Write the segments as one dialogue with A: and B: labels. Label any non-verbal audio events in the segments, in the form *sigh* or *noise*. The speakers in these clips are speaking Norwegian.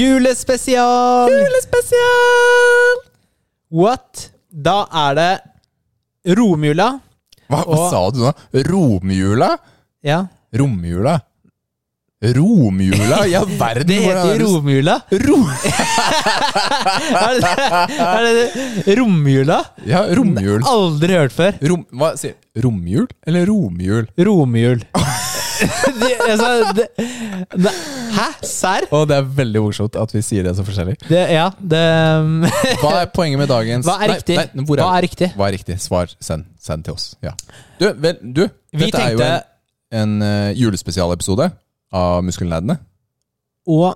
A: Julespesial! Julespesial! What? Da er det romjula.
B: Hva, hva
A: Og-
B: sa du nå? Romjula?
A: Ja.
B: Romjula? Romjula? Ja,
A: *laughs*
B: verden!
A: Det
B: hvordan
A: heter
B: er
A: jo
B: *laughs*
A: romjula.
B: Ro-
A: Er det er det det? Romjula?
B: Ja, romjul.
A: Aldri hørt før.
B: Rom, hva sier Romjul eller romjul? *laughs*
A: Romjul. det, altså, det, det, hæ? Serr?
B: Og det er veldig morsomt at vi sier det så forskjellig.
A: Det, ja, det
B: Hva er poenget med dagens
A: Hva er
B: Nei,
A: riktig?
B: nei, hvor
A: Hva er riktig?
B: Hva er riktig? Svar. Send, send til oss. Ja. Du, vel, du
A: Vi
B: dette er jo en,
A: tenkte-
B: en eh, julespesialepisode av Muskelnerdene.
A: Og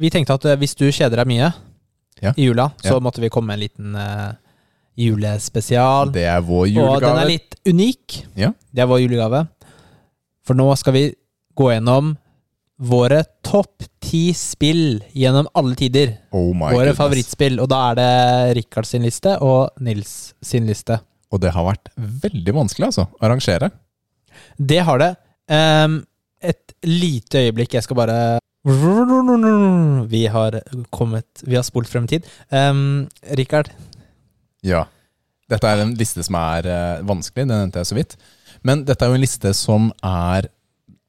A: vi tenkte at eh, hvis du kjeder deg mye
B: Ja.
A: i jula, så
B: Ja.
A: måtte vi komme med en liten eh, julespesial.
B: Det er vår
A: Og den
B: julegave.
A: er litt unik.
B: Ja.
A: Det er vår julegave. For nå skal vi gå gjennom våre topp ti spill gjennom alle tider.
B: Oh my
A: våre
B: goodness.
A: favorittspill. Og da er det Rikard sin liste og Nils sin liste.
B: Og det har vært veldig vanskelig altså, å arrangere.
A: Det har det. Ehm, et lite øyeblikk, jeg skal bare Vi har kommet Vi har spolt frem i tid. Ehm, Rikard,
B: Ja. Dette er en liste som er eh, vanskelig, den nevnte jeg så vidt. Men dette er jo en liste som er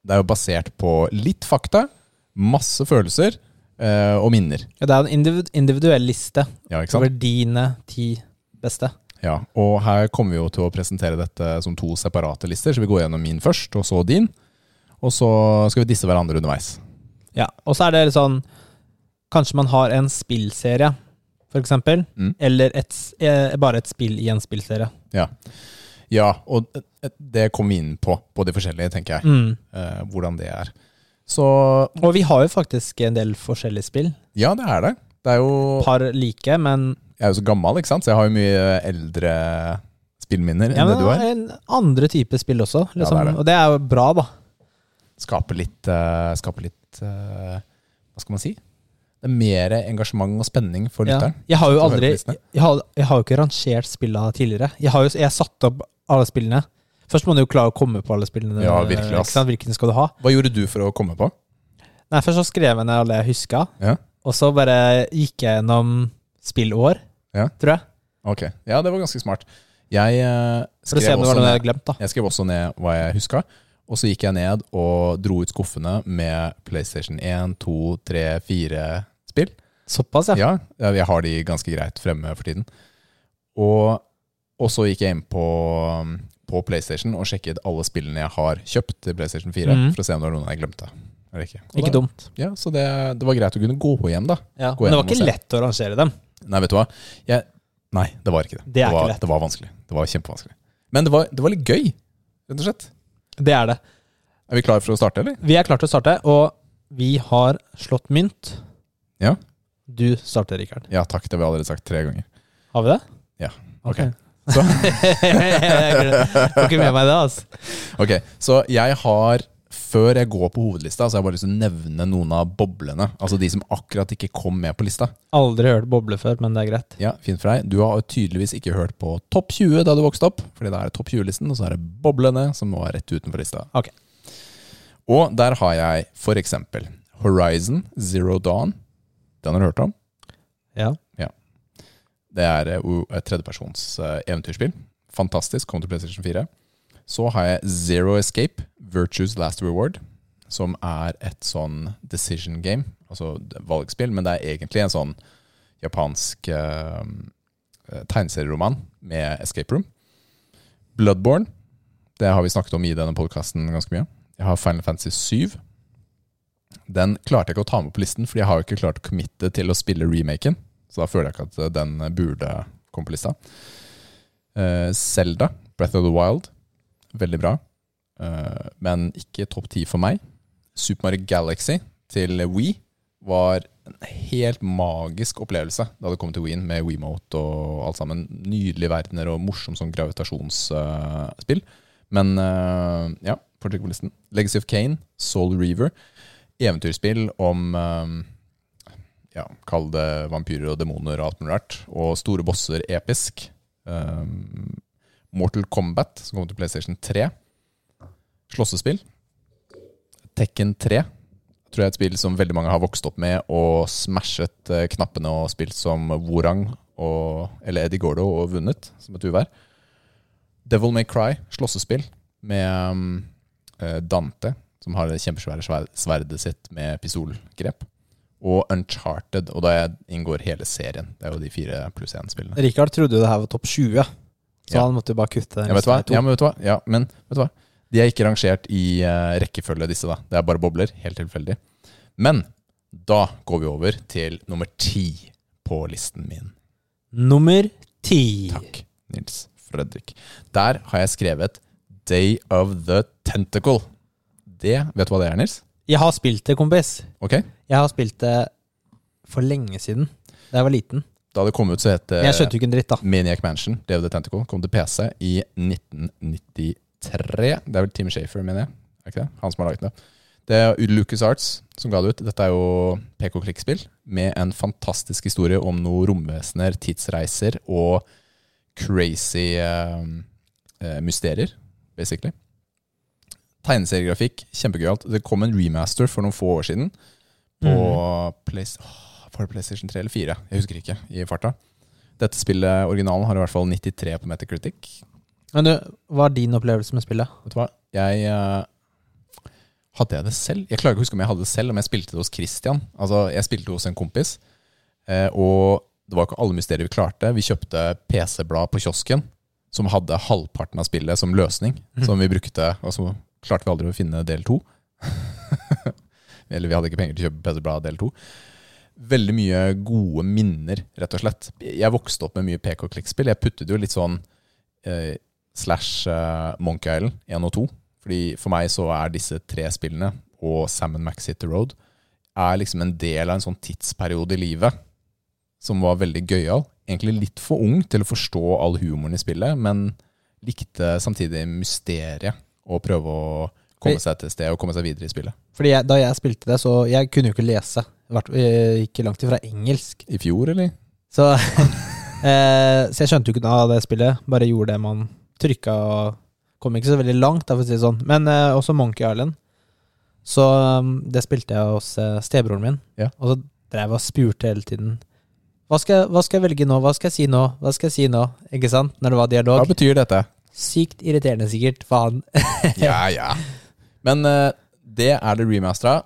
B: Det er jo basert på litt fakta, masse følelser eh, og minner.
A: det er en individ, individuell liste
B: Ja, ikke
A: over
B: sant?
A: dine ti beste.
B: Ja, Og her kommer vi jo til å presentere dette som to separate lister, så vi går gjennom min først, og så din. Og så skal vi disse hverandre underveis.
A: Ja, Og så er det litt sånn Kanskje man har en spillserie, for eksempel.
B: Mm.
A: Eller et, s- eh, bare et spill i en spillserie.
B: Ja, ja og eh, det kommer vi inn på, på de forskjellige, tenker jeg.
A: Mm.
B: Eh, hvordan det er. Så
A: Og vi har jo faktisk en del forskjellige spill.
B: ja, det er det. Det er jo
A: Par like, men,
B: Jeg er jo så gammel, ikke sant? Så jeg har jo mye eldre spillminner enn
A: ja, men
B: det du har.
A: en andre type spill også.
B: Ja, det
A: Liksom.
B: er det.
A: Og det er jo bra, da.
B: Skaper litt, eh, skaper litt eh, Hva skal man si? Det er mer engasjement og spenning for
A: Ja.
B: lytteren.
A: Jeg har jo
B: som hører
A: aldri
B: på listene.
A: Jeg har, jeg har jo ikke rangert spilla tidligere. Jeg har jo jeg satt opp alle spillene. Først må du jo klare å komme på alle spillene.
B: Ja, virkelig, ass.
A: ikke sant? Hvilken skal du ha?
B: Hva gjorde du for å komme på?
A: Nei, Først så skrev jeg ned alle jeg huska,
B: Ja.
A: og så bare gikk jeg gjennom spillår,
B: Ja.
A: tror jeg.
B: Ok, Ja, det var ganske smart. Jeg, eh,
A: For å
B: skrev,
A: se om det
B: også
A: var noe jeg
B: ned,
A: hadde glemt. da
B: jeg skrev også ned hva jeg huska. Og så gikk jeg ned og dro ut skuffene med PlayStation 1, 2, 3, 4 spill.
A: Såpass, *laughs* ja.
B: Ja, jeg har de ganske greit fremme for tiden. Og, og så gikk jeg inn på, um, på PlayStation og sjekket alle spillene jeg har kjøpt til PlayStation 4,
A: Mhm.
B: for å se om det var noen jeg glemte. Eller ikke. Og
A: Ikke
B: da,
A: dumt.
B: ja, så det, det var greit å kunne gå hjem, da.
A: Ja.
B: Gå
A: Men det var
B: gjennom og
A: ikke
B: se.
A: lett å rangere dem.
B: Nei, vet du hva? Jeg, nei, det var ikke det.
A: Det er
B: var,
A: ikke lett.
B: det var vanskelig. Det var kjempevanskelig. Men det var, det var litt gøy, rett og slett.
A: Det er det.
B: Er vi klare for å starte, eller?
A: Vi er klare til å starte, og vi har slått mynt.
B: Ja.
A: Du starter, Rikard.
B: Ja takk, det har vi allerede sagt tre ganger.
A: Har vi det?
B: Ja,
A: Ok.
B: ok. *laughs*
A: *laughs*
B: Så-
A: jeg får ikke med meg det, altså.
B: Ok, så jeg har før jeg går på hovedlista, så har jeg bare lyst til å nevne noen av boblene. Altså de som akkurat ikke kom med på lista.
A: Aldri hørt boble før, men det er greit.
B: Ja, fint for deg. Du har tydeligvis ikke hørt på topp 20 da du vokste opp, fordi da er det topp 20-listen, og så er det boblene som var rett utenfor lista.
A: Ok.
B: Og der har jeg for eksempel Horizon Zero Dawn. Den har du hørt om.
A: Ja.
B: Det er eh, o- et tredjepersons eh, eventyrspill. Fantastisk. Kom til PlayStation 4. Så har jeg Zero Escape, Virtues Last Reward, som er et sånn decision game, altså d- valgspill, men det er egentlig en sånn japansk eh, eh, tegneserieroman med escape room. Bloodborne, det har vi snakket om i denne podkasten ganske mye. Jeg har Final Fantasy 7. Den klarte jeg ikke å ta med på listen, fordi jeg har jo ikke klart å committe til å spille remaken. Så da føler jeg ikke at eh, den burde komme på lista. Eh, Zelda, Breath of the Wild. Veldig bra. Eh, men ikke topp ti for meg. Super Mario Galaxy til Wii var en helt magisk opplevelse da det kom til Wien med WeMote og alt sammen. Nydelige verdener og morsom sånn gravitasjonsspill. Men eh, ja, fortsett på listen. Legacy of Kane, Soul Reaver. Eventyrspill om eh, ja, kall det vampyrer og demoner og alt mulig rart. Og store bosser episk. Um, Mortal Kombat, som kom til PlayStation 3. Slåssespill. Tekken 3. Jeg tror jeg er et spill som veldig mange har vokst opp med og smashet eh, knappene og spilt som Worang og, eller Eddie Gordo og vunnet, som et uvær. Devil May Cry, slåssespill med um, eh, Dante, som har det kjempesvære sver- sverdet sitt med pistolgrep. Og Uncharted, og da inngår hele serien. Det er jo de fire pluss én-spillene.
A: Rikard trodde jo det her var topp 20, så
B: Ja.
A: han måtte jo bare kutte den.
B: Ja, vet du hva?
A: resten av to.
B: Ja, men vet du hva? Ja, men vet du hva? De er ikke rangert i eh, rekkefølge, disse. da. Det er bare bobler. Helt tilfeldig. Men da går vi over til nummer ti på listen min.
A: Nummer ti.
B: Takk, Nils Fredrik. Der har jeg skrevet Day of the Tentacle. Det, Vet du hva det er, Nils?
A: Jeg har spilt det, kompis.
B: Ok?
A: Jeg har spilt det for lenge siden. Da jeg var liten.
B: Da det kom ut, så het det
A: Men jeg skjønte jo ikke en dritt, da.
B: Maniac Mansion, Day of the Tentacle, kom til PC i 1993. Det er vel Tim Shafer, mener jeg. Er ikke det? Han som har laget det. Det er Lucas Arts som ga det ut. Dette er jo pek-og-klikk-spill med en fantastisk historie om noen romvesener, tidsreiser og crazy eh, eh, mysterier, basically. Tegneseriegrafikk, kjempegøyalt. Det kom en remaster for noen få år siden på Place- Åh, var det PlayStation 3 eller 4? Jeg husker ikke i farta. Dette spillet, originalen, har i hvert fall 93 på Metacritic.
A: Men du, hva er din opplevelse med spillet?
B: Vet du hva? Jeg eh, Hadde jeg det selv? Jeg klarer ikke å huske om jeg hadde det selv, om jeg spilte det hos Christian. Altså, jeg spilte det hos en kompis, eh, og det var ikke alle mysterier vi klarte. Vi kjøpte PC-blad på kiosken som hadde halvparten av spillet som løsning,
A: Mhm.
B: som vi brukte, og så klarte vi aldri å finne del to. *laughs* Eller vi hadde ikke penger til å kjøpe PC-blad del to. Veldig mye gode minner, rett og slett. Jeg vokste opp med mye pek-og-klikk-spill. Jeg puttet jo litt sånn eh, slash eh, Monkey Island 1 og 2. Fordi for meg så er disse tre spillene og Sam Max Hit the Road er liksom en del av en sånn tidsperiode i livet som var veldig gøyal. Egentlig litt for ung til å forstå all humoren i spillet, men likte samtidig mysteriet og prøve å komme seg til sted og komme seg videre i spillet.
A: Fordi jeg, Da jeg spilte det, så jeg kunne jo ikke lese. Vært, eh, ikke langt ifra engelsk.
B: I fjor, eller?
A: Så, *laughs* eh, så jeg skjønte jo ikke noe av det spillet. Bare gjorde det man trykka og kom ikke så veldig langt, da, for å si det sånn. Men eh, også Monkey Island. Så um, det spilte jeg hos eh, stebroren min.
B: Ja.
A: Og så drev jeg og spurte hele tiden. Hva skal, hva skal jeg velge nå? Hva skal jeg si nå? Hva skal jeg si nå? Ikke sant? Når det var dialog.
B: Hva betyr dette?
A: Sykt irriterende sikkert for han.
B: Ja, ja. Men eh, det er det remastera.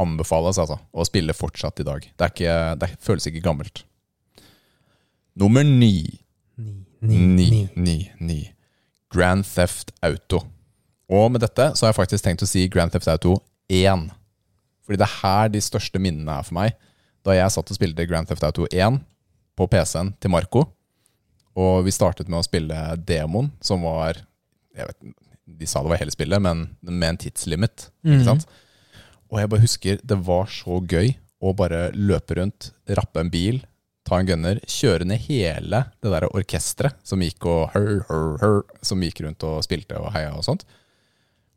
B: Anbefales altså å spille fortsatt i dag. Det, er ikke, det føles ikke gammelt. Nummer ni.
A: Ni,
B: Ni, ni, ni. Grand Theft Auto. Og med dette så har jeg faktisk tenkt å si Grand Theft Auto 1. Fordi det er her de største minnene er for meg. Da jeg satt og spilte Grand Theft Auto 1 på PC-en til Marco, og vi startet med å spille demoen, som var jeg vet, De sa det var hele spillet, men med en tidslimit.
A: Mhm.
B: Ikke sant? Og jeg bare husker det var så gøy å bare løpe rundt, rappe en bil, ta en gunner, kjøre ned hele det der orkesteret som gikk og hør, hør, hør, som gikk rundt og spilte og heia og sånt.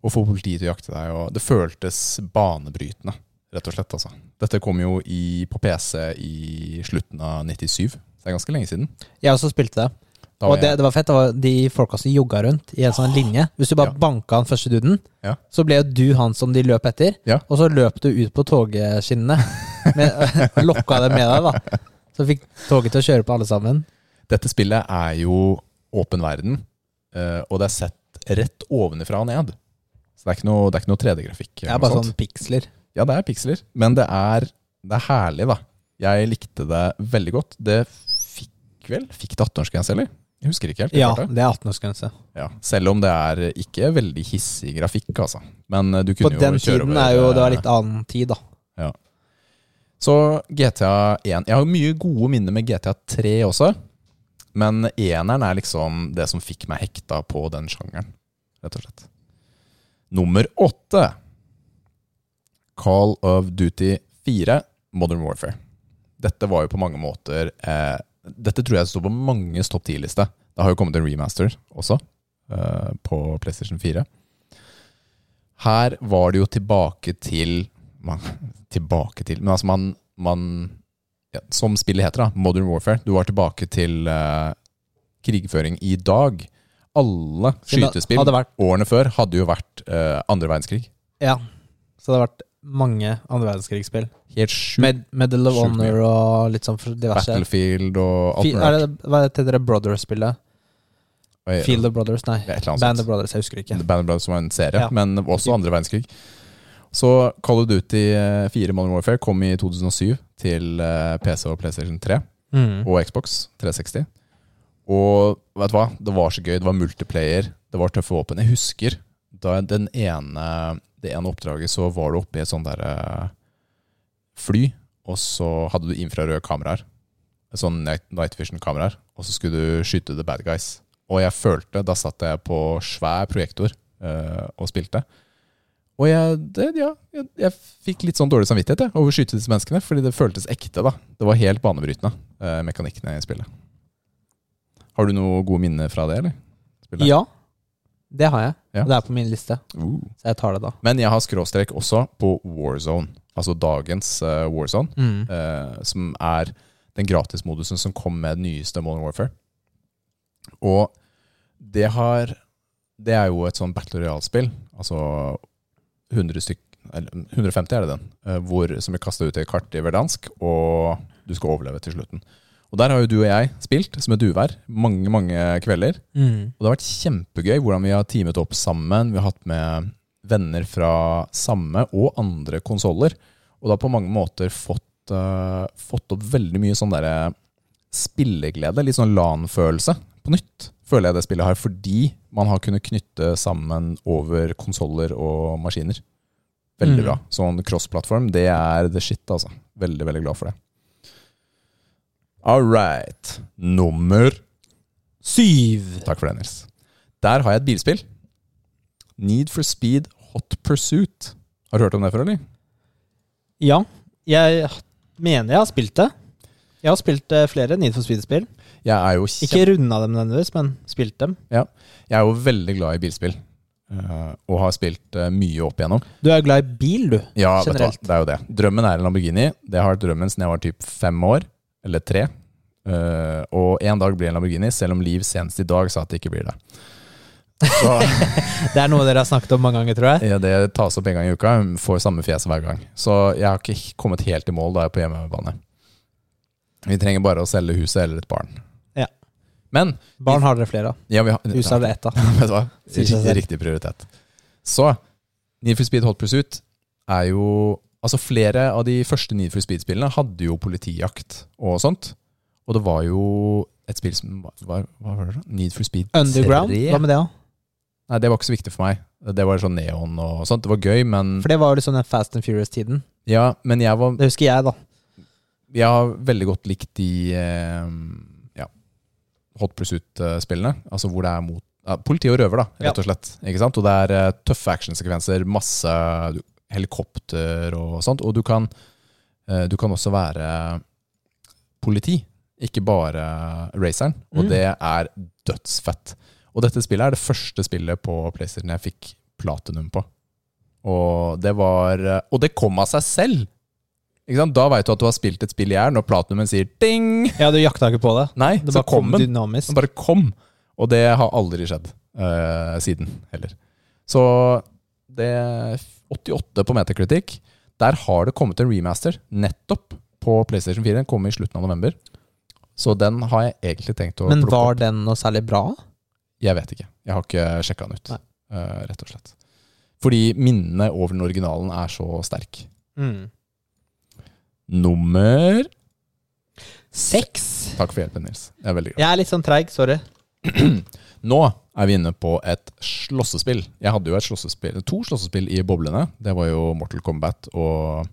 B: Og få politiet til å jakte deg. Og det føltes banebrytende, rett og slett. altså. Dette kom jo i, på PC i slutten av 97, så det er ganske lenge siden.
A: Jeg også spilte det.
B: Da
A: og
B: var
A: det,
B: jeg-
A: det var fett. Det var de folka som jogga rundt i en sånn linje. Hvis du bare
B: Ja.
A: banka han første duden,
B: Ja.
A: så ble jo du han som de løp etter.
B: Ja.
A: Og så løp du ut på
B: *laughs*
A: togskinnene med, *laughs* og lokka dem med deg. da Så fikk toget til å kjøre på alle sammen.
B: Dette spillet er jo åpen verden, eh, og det er sett rett ovenifra og ned. Så det er ikke noe, det er ikke noe 3D-grafikk.
A: Det
B: eller
A: er
B: noe
A: bare
B: sånt.
A: sånn piksler.
B: Ja, det er piksler, men det er, det er herlig, da. Jeg likte det veldig godt. Det fikk vel Fikk det 18-årsgrense, eller? Jeg husker ikke helt. jeg
A: Ja,
B: hørte.
A: det er 18-årsgrense.
B: ja. Selv om det er ikke veldig hissig grafikk, altså. Men eh, du
A: På
B: kunne jo
A: den
B: kjøre
A: tiden
B: over,
A: er jo det
B: eh,
A: var litt annen tid, da.
B: Så GTA 1 Jeg har jo mye gode minner med GTA 3 også. Men eneren er liksom det som fikk meg hekta på den sjangeren, rett og slett. Nummer åtte. Call of Duty 4, Modern Warfare. Dette var jo på mange måter eh, Dette tror jeg står på manges topp 10-liste. Det har jo kommet en remaster også, eh, på PlayStation 4. Her var det jo tilbake til man, *laughs* Tilbake til Men altså, man, man ja, Som spillet heter, da, Modern Warfare. Du var tilbake til eh, krigføring i dag. Alle
A: Siden det
B: skytespill
A: hadde vært-
B: årene før hadde jo vært eh, andre verdenskrig.
A: Ja. Så det har vært mange andre verdenskrigsspill.
B: Helt sjukt.
A: Med, Medal of
B: Sjukt
A: Honor og litt sånn for diverse.
B: Battlefield og alt
A: Fi-
B: mulig.
A: Er det, hva heter det Brothers-spillet?
B: Oi,
A: Field of Brothers, nei.
B: det er et eller annet
A: Band
B: sånt.
A: of Brothers, jeg husker ikke.
B: The Band of Brothers var en serie,
A: Ja.
B: men også andre verdenskrig. Så Call of Duty eh, 4 Modern Warfare kom i 2007 til eh, PC og PlayStation 3
A: Mm.
B: og Xbox 360. Og vet du hva? Det var så gøy. Det var multiplayer. Det var tøffe våpen. Jeg husker da den ene, det ene oppdraget så var du oppe i et sånt der eh, fly, og så hadde du infrarøde kameraer. Sånn night night vision-kameraer. Og så skulle du skyte the bad guys. Og jeg følte, da satt jeg på svær projektor eh, og spilte. Og jeg, det, ja, jeg, jeg fikk litt sånn dårlig samvittighet jeg, over å skyte disse menneskene, fordi det føltes ekte. da. Det var helt banebrytende, eh, mekanikkene i spillet. Har du noe gode minner fra det, eller? Spillet?
A: Ja, det har jeg.
B: Ja.
A: Og det er på min liste,
B: Uh.
A: så jeg tar det da.
B: Men jeg har skråstrek også på Warzone, altså dagens eh, Warzone,
A: Mm.
B: eh, som er den gratismodusen som kom med den nyeste Modern Warfare. Og det har Det er jo et sånn battle royale-spill, altså 100 stykk, eller 150 er det den, eh, hvor, som blir kasta ut i et kart i verdansk, og du skal overleve til slutten. Og der har jo du og jeg spilt som et uvær mange, mange kvelder.
A: Mm.
B: Og det har vært kjempegøy hvordan vi har teamet opp sammen. Vi har hatt med venner fra samme og andre konsoller. Og det har på mange måter fått, eh, fått opp veldig mye sånn derre spilleglede. Litt sånn LAN-følelse på nytt, føler jeg det spillet har. Fordi man har kunnet knytte sammen over konsoller og maskiner. Veldig
A: Mm.
B: bra. Sånn cross-plattform, det er the shit, altså. Veldig, veldig glad for det. All right. Nummer
A: Syv!
B: Takk for det, Nils. Der har jeg et bilspill. Need for Speed Hot Pursuit. Har du hørt om det før, eller?
A: Ja, jeg mener jeg har spilt det. Jeg har spilt eh, flere Need for Speed-spill.
B: Jeg er jo,
A: Ikke
B: kjem...
A: runda dem nødvendigvis, men spilt dem.
B: jeg er jo veldig glad i bilspill. eh, og har spilt eh, mye opp igjennom.
A: Du er jo glad i bil, du.
B: Ja, vet du hva,
A: Generelt.
B: det er jo det. Drømmen er en Lamborghini. Det har vært drømmen siden jeg var typ fem år. Eller tre. Eh, og en dag blir det en Lamborghini, selv om Liv senest i dag sa at det ikke blir det. Så...
A: Det er noe dere har snakket om mange ganger, tror jeg.
B: Ja, det tas opp en gang i uka. Hun får samme fjes hver gang. Så jeg har ikke kommet helt i mål da jeg er på hjemmebane. Vi trenger bare å selge huset eller et barn.
A: Ja.
B: Men
A: Barn har dere flere av.
B: ja, vi har,
A: Huset er det ett av.
B: *laughs* Vet du hva?
A: *laughs* Sier seg selv.
B: Riktig, riktig prioritet. Så Need for Speed Hot Pursuit er jo Altså, flere av de første Need for Speed-spillene hadde jo politijakt og sånt. Og det var jo et spill som var, var, Hva var det? da? Need for Speed
A: Underground,
B: 3?
A: hva med det, da?
B: Nei, det var ikke så viktig for meg. Det var sånn neon og sånt. Det var gøy, men
A: For det var jo liksom den Fast and Furious-tiden.
B: Ja, men jeg var
A: Det husker jeg, da.
B: Jeg har veldig godt likt de eh, ja, Hot Pursuit-spillene. Altså hvor det er mot ja, Politi og røver, da, rett og slett. Ikke sant? Og det er eh, tøffe actionsekvenser, masse du- helikopter og sånt. Og du kan, eh, du kan også være politi, ikke bare raceren. Og
A: Mm.
B: det er dødsfett. Og dette spillet er det første spillet på PlayStation jeg fikk platinum på. Og det var Og det kom av seg selv! Ikke sant? Da veit du at du har spilt et spill i hjel når platinumen sier ding!
A: Ja, du jakta ikke på det.
B: Nei,
A: Det
B: så
A: bare
B: kom
A: kom
B: den.
A: dynamisk.
B: Den bare kom. Og det har aldri skjedd eh, siden heller. Så det 88 på Metacritic. Der har det kommet en remaster nettopp på PlayStation 4. Den kom i slutten av november. Så den har jeg egentlig tenkt å
A: Men
B: plukke
A: var
B: opp.
A: den noe særlig bra?
B: Jeg vet ikke. Jeg har ikke sjekka den ut,
A: Nei.
B: eh, rett og slett. Fordi minnene over den originalen er så sterk.
A: Mm.
B: Nummer
A: Seks?
B: Takk for hjelpen, Nils. Jeg er veldig glad.
A: Jeg er litt sånn treig, sorry.
B: Nå er vi inne på et slåssespill. Jeg hadde jo et slåssespill, to slåssespill i boblene. Det var jo Mortal Kombat og,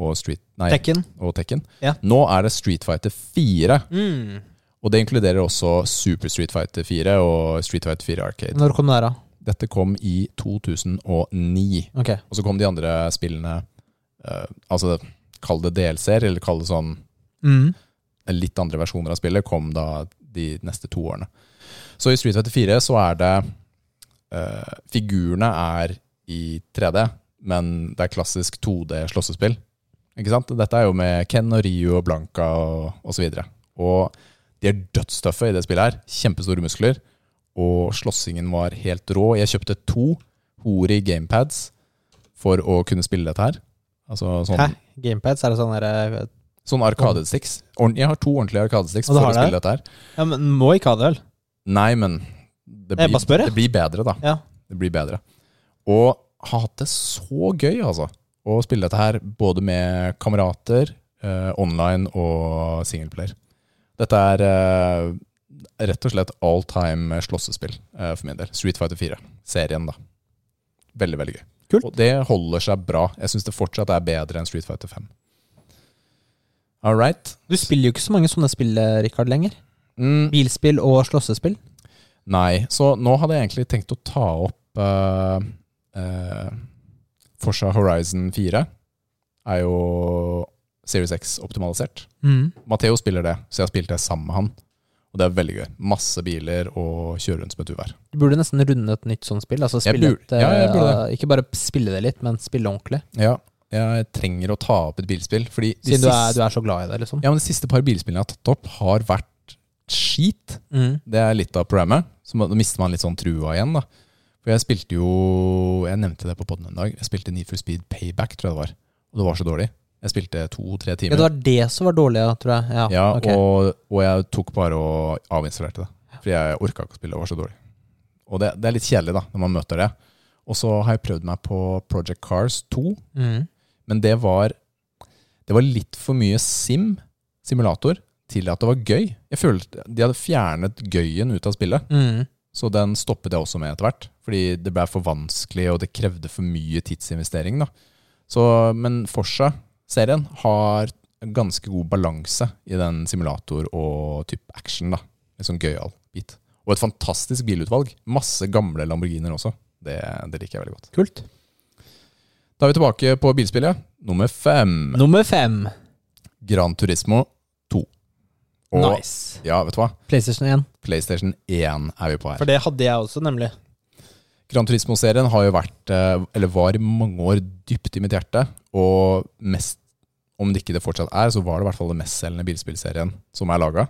B: og, Street, nei,
A: Tekken.
B: og Tekken.
A: Ja.
B: Nå er det Street Fighter 4.
A: Mm.
B: Og det inkluderer også Super Street Fighter 4 og Street Fighter 4 Arcade.
A: Når kom det her, da?
B: Dette kom i 2009.
A: Ok.
B: Og så kom de andre spillene eh, Altså, kall det DLC-er, eller kall det sånn
A: Mm.
B: litt andre versjoner av spillet kom da de neste to årene. Så i Street Fighter 4 så er det eh, Figurene er i 3D, men det er klassisk 2D slåssespill. Ikke sant? Dette er jo med Ken og Ryu og Blanka og, og så videre. Og de er dødstøffe i det spillet her. Kjempestore muskler. Og slåssingen var helt rå. Jeg kjøpte to Hori gamepads for å kunne spille dette her. Altså
A: Hæ?
B: sånn,
A: Gamepads? Er det sånn derre
B: sånn arkadesticks. Ordn- Jeg har to ordentlige arkadesticks
A: Og du
B: for å
A: har det?
B: spille dette her.
A: Ja, men må ikke ha det, vel?
B: Nei, men det
A: Jeg
B: blir,
A: bare spør, jeg.
B: det blir bedre, da.
A: Ja.
B: Det blir bedre. Og har hatt det så gøy, altså, å spille dette her både med kamerater, eh, online og singleplayer. Dette er eh, rett og slett all time slåssespill eh, for min del. Street Fighter 4, serien, da. Veldig, veldig gøy.
A: Kult.
B: Og det holder seg bra. Jeg syns det fortsatt er bedre enn Street Fighter 5. All right.
A: Du spiller jo ikke så mange sånne spill, eh, Rikard, lenger.
B: Mm,
A: Bilspill og slåssespill.
B: Nei, så nå hadde jeg egentlig tenkt å ta opp eh, eh, Forsa Horizon 4. Er jo Series X optimalisert.
A: Mm.
B: Matheo spiller det, så jeg har spilt det sammen med han. Og det er veldig gøy. Masse biler og kjøre rundt som et uvær.
A: Du burde nesten runde et nytt sånt spill. Altså
B: Jeg
A: spille
B: burde-
A: et, eh,
B: ja, jeg burde
A: Ikke bare spille det litt, men spille ordentlig.
B: Ja, jeg trenger å ta opp et bilspill, fordi de
A: Siden du er, du
B: siste,
A: er så glad i det, liksom.
B: ja, men de siste par bilspillene jeg har tatt opp, har vært skit.
A: Mm.
B: Det er litt av programmet. Så man- da mister man litt sånn trua igjen, da. For jeg spilte jo Jeg nevnte det på podden en dag. Jeg spilte Need for Speed Payback, tror jeg det var. Og det var så dårlig. Jeg spilte to-tre
A: Ja,
B: timer.
A: det var det som var dårlig, ja, tror jeg. Ja,
B: Ja,
A: ok.
B: og, og jeg tok bare og avinstallerte det. For jeg orka ikke å spille, det var så dårlig. Og det, det er litt kjedelig, da, når man møter det. Og så har jeg prøvd meg på Project Cars 2,
A: Mm.
B: men det var Det var litt for mye sim, simulator, til at det var gøy. Jeg følte De hadde fjernet gøyen ut av spillet.
A: Mm.
B: Så den stoppet jeg også med etter hvert, fordi det ble for vanskelig, og det krevde for mye tidsinvestering. Da. Så, men Forsa-serien har ganske god balanse i den simulator og typ action. Da. En sånn gøyal bit. Og et fantastisk bilutvalg. Masse gamle Lamborghiner også. Det, det liker jeg veldig godt.
A: Kult.
B: Da er vi tilbake på bilspillet. Nummer fem.
A: Nummer fem.
B: Gran Turismo 2. Og
A: nice.
B: ja, vet du hva?
A: PlayStation 1.
B: PlayStation 1 er vi på her.
A: For det hadde jeg også, nemlig.
B: Gran Turismo-serien har jo vært, eh, eller var i mange år, dypt i mitt hjerte. Og mest, om det ikke det fortsatt er, så var det i hvert fall den mestselgende bilspillserien som er laga.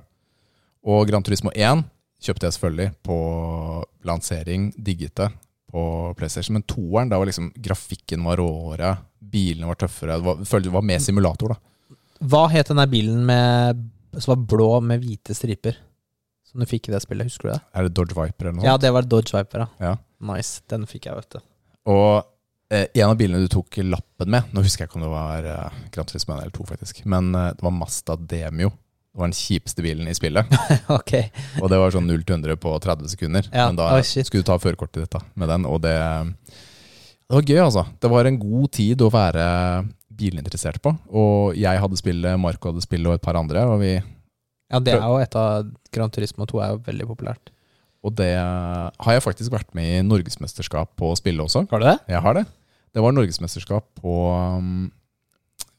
B: Og Gran Turismo 1 kjøpte jeg selvfølgelig på lansering, digget det på PlayStation. Men toeren, da var liksom grafikken var råere, bilene var tøffere. Det var, følte det var mer simulator, da.
A: Hva het den der bilen med, som var blå med hvite striper? Som du fikk i det spillet, husker du det?
B: Er det Dodge Viper eller noe?
A: Ja, det var Dodge Viper,
B: Ja.
A: Nice. Den fikk jeg, vet du. *laughs*
B: Og eh, en av bilene du tok lappen med Nå husker jeg ikke om det var eh, Gran Turismo 1 eller 2, faktisk. Men eh, det var Mazda Demio. Det var den kjipeste bilen i
A: *laughs*
B: spillet.
A: ok.
B: Og det var sånn 0 til 100 på 30 sekunder.
A: Ja,
B: Men da
A: oi, shit.
B: skulle du ta førerkortet ditt da, med den, og det Det var gøy, altså. Det var en god tid å være bilinteressert på. Og jeg hadde spillet, Marco hadde spillet og et par andre. Og, vi,
A: Ja, det er jo et av Gran Turismo 2 er jo veldig populært.
B: og det har jeg faktisk vært med i norgesmesterskap på å spille også.
A: Har du det?
B: Jeg har det. Det var norgesmesterskap på um,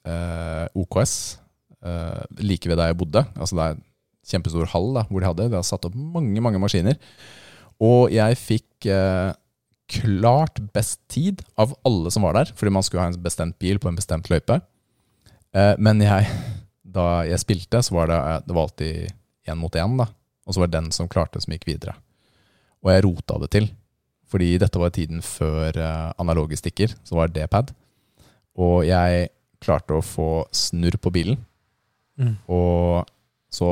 B: eh, OKS, eh, like ved der jeg bodde. Altså det er en kjempestor hall da, hvor de hadde. De har satt opp mange, mange maskiner. Og jeg fikk eh, klart best tid av alle som var der, fordi man skulle ha en bestemt bil på en bestemt løype. Eh, men jeg, da jeg spilte, så var det, eh, det var alltid én mot én, da. Og så var det den som klarte, som gikk videre. Og jeg rota det til. Fordi dette var tiden før eh, analoge stikker, så var det pad. Og jeg klarte å få snurr på bilen,
A: Mm.
B: og så,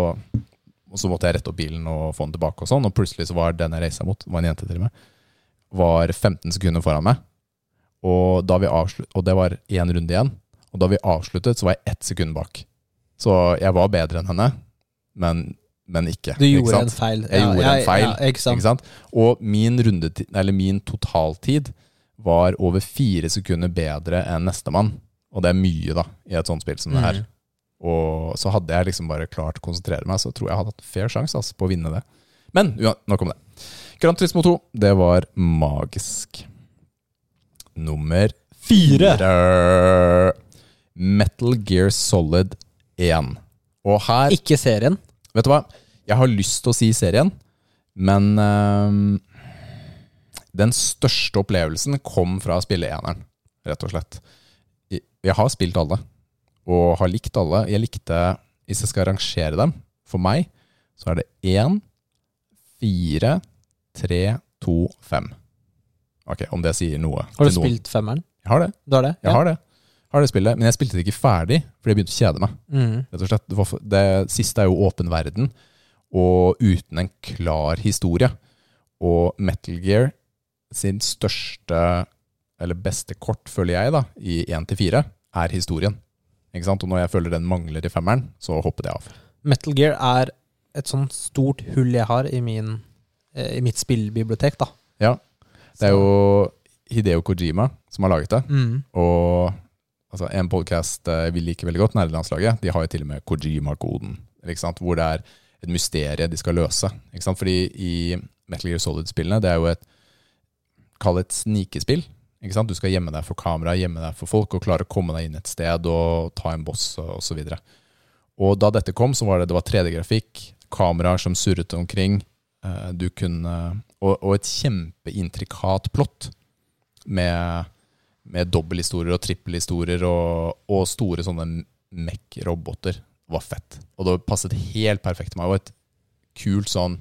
B: og så måtte jeg rette opp bilen og få den tilbake og sånn, og plutselig så var den jeg reisa mot, det var en jente til og med, var 15 sekunder foran meg. Og, da vi avslu- og det var én runde igjen. Og da vi avsluttet, så var jeg ett sekund bak. Så jeg var bedre enn henne, men, men ikke.
A: Du
B: ikke
A: gjorde
B: sant?
A: en feil.
B: Jeg gjorde en feil,
A: Ja, ikke sant?
B: Ikke sant? Og min, rundetid, eller min totaltid var over fire sekunder bedre enn nestemann. Og det er mye, da, i et sånt spill som det her.
A: Mhm.
B: Og så hadde jeg liksom bare klart å konsentrere meg, så tror jeg jeg hadde hatt fair sjanse altså, på å vinne det. Men ja, nok om det. Gran Turismo 2, det var magisk. Nummer
A: Fire.
B: fire. Metal Gear Solid 1. Og her
A: Ikke serien.
B: Vet du hva? Jeg har lyst til å si serien, men ehm, den største opplevelsen kom fra å spille eneren, rett og slett. Jeg- Jeg har spilt alle, og har likt alle. Jeg likte, hvis jeg skal rangere dem, for meg, så er det én, fire, tre, to, fem. Ok, Om det sier noe.
A: Har du
B: til noen.
A: spilt femmeren?
B: Jeg har det.
A: Du har det?
B: Jeg har det. Har det spillet, men jeg spilte det ikke ferdig, fordi jeg begynte å kjede meg.
A: Mm.
B: Rett og slett. Det, var, for- det siste er jo åpen verden, og uten en klar historie. Og Metal Gear sin største, eller beste kort, føler jeg, da, i 1-4, er historien. Ikke sant? Og når jeg føler den mangler i femmeren, så hoppet jeg av.
A: Metal Gear er et sånt stort hull jeg har i, min, eh, i mitt spillbibliotek, da.
B: Ja. Det er jo Hideo Kojima som har laget det.
A: mm.
B: Og altså, en podkast vi liker veldig godt, Nerdelandslaget, de har jo til og med Kojima-koden. Ikke sant? Hvor det er et mysterium de skal løse. Ikke sant? Fordi i Metal Gear Solid-spillene, det er jo et Kall det et snikespill. Ikke sant? Du skal gjemme deg for kamera, gjemme deg for folk, og klare å komme deg inn et sted og ta en boss og osv. Og da dette kom, så var det, det var 3D-grafikk, kameraer som surret omkring. eh, Du kunne, og, og et kjempeintrikat plott med med dobbelthistorier og trippelhistorier og, og store sånne mech-roboter. Det var fett. Og det passet helt perfekt til meg. Og et kult sånn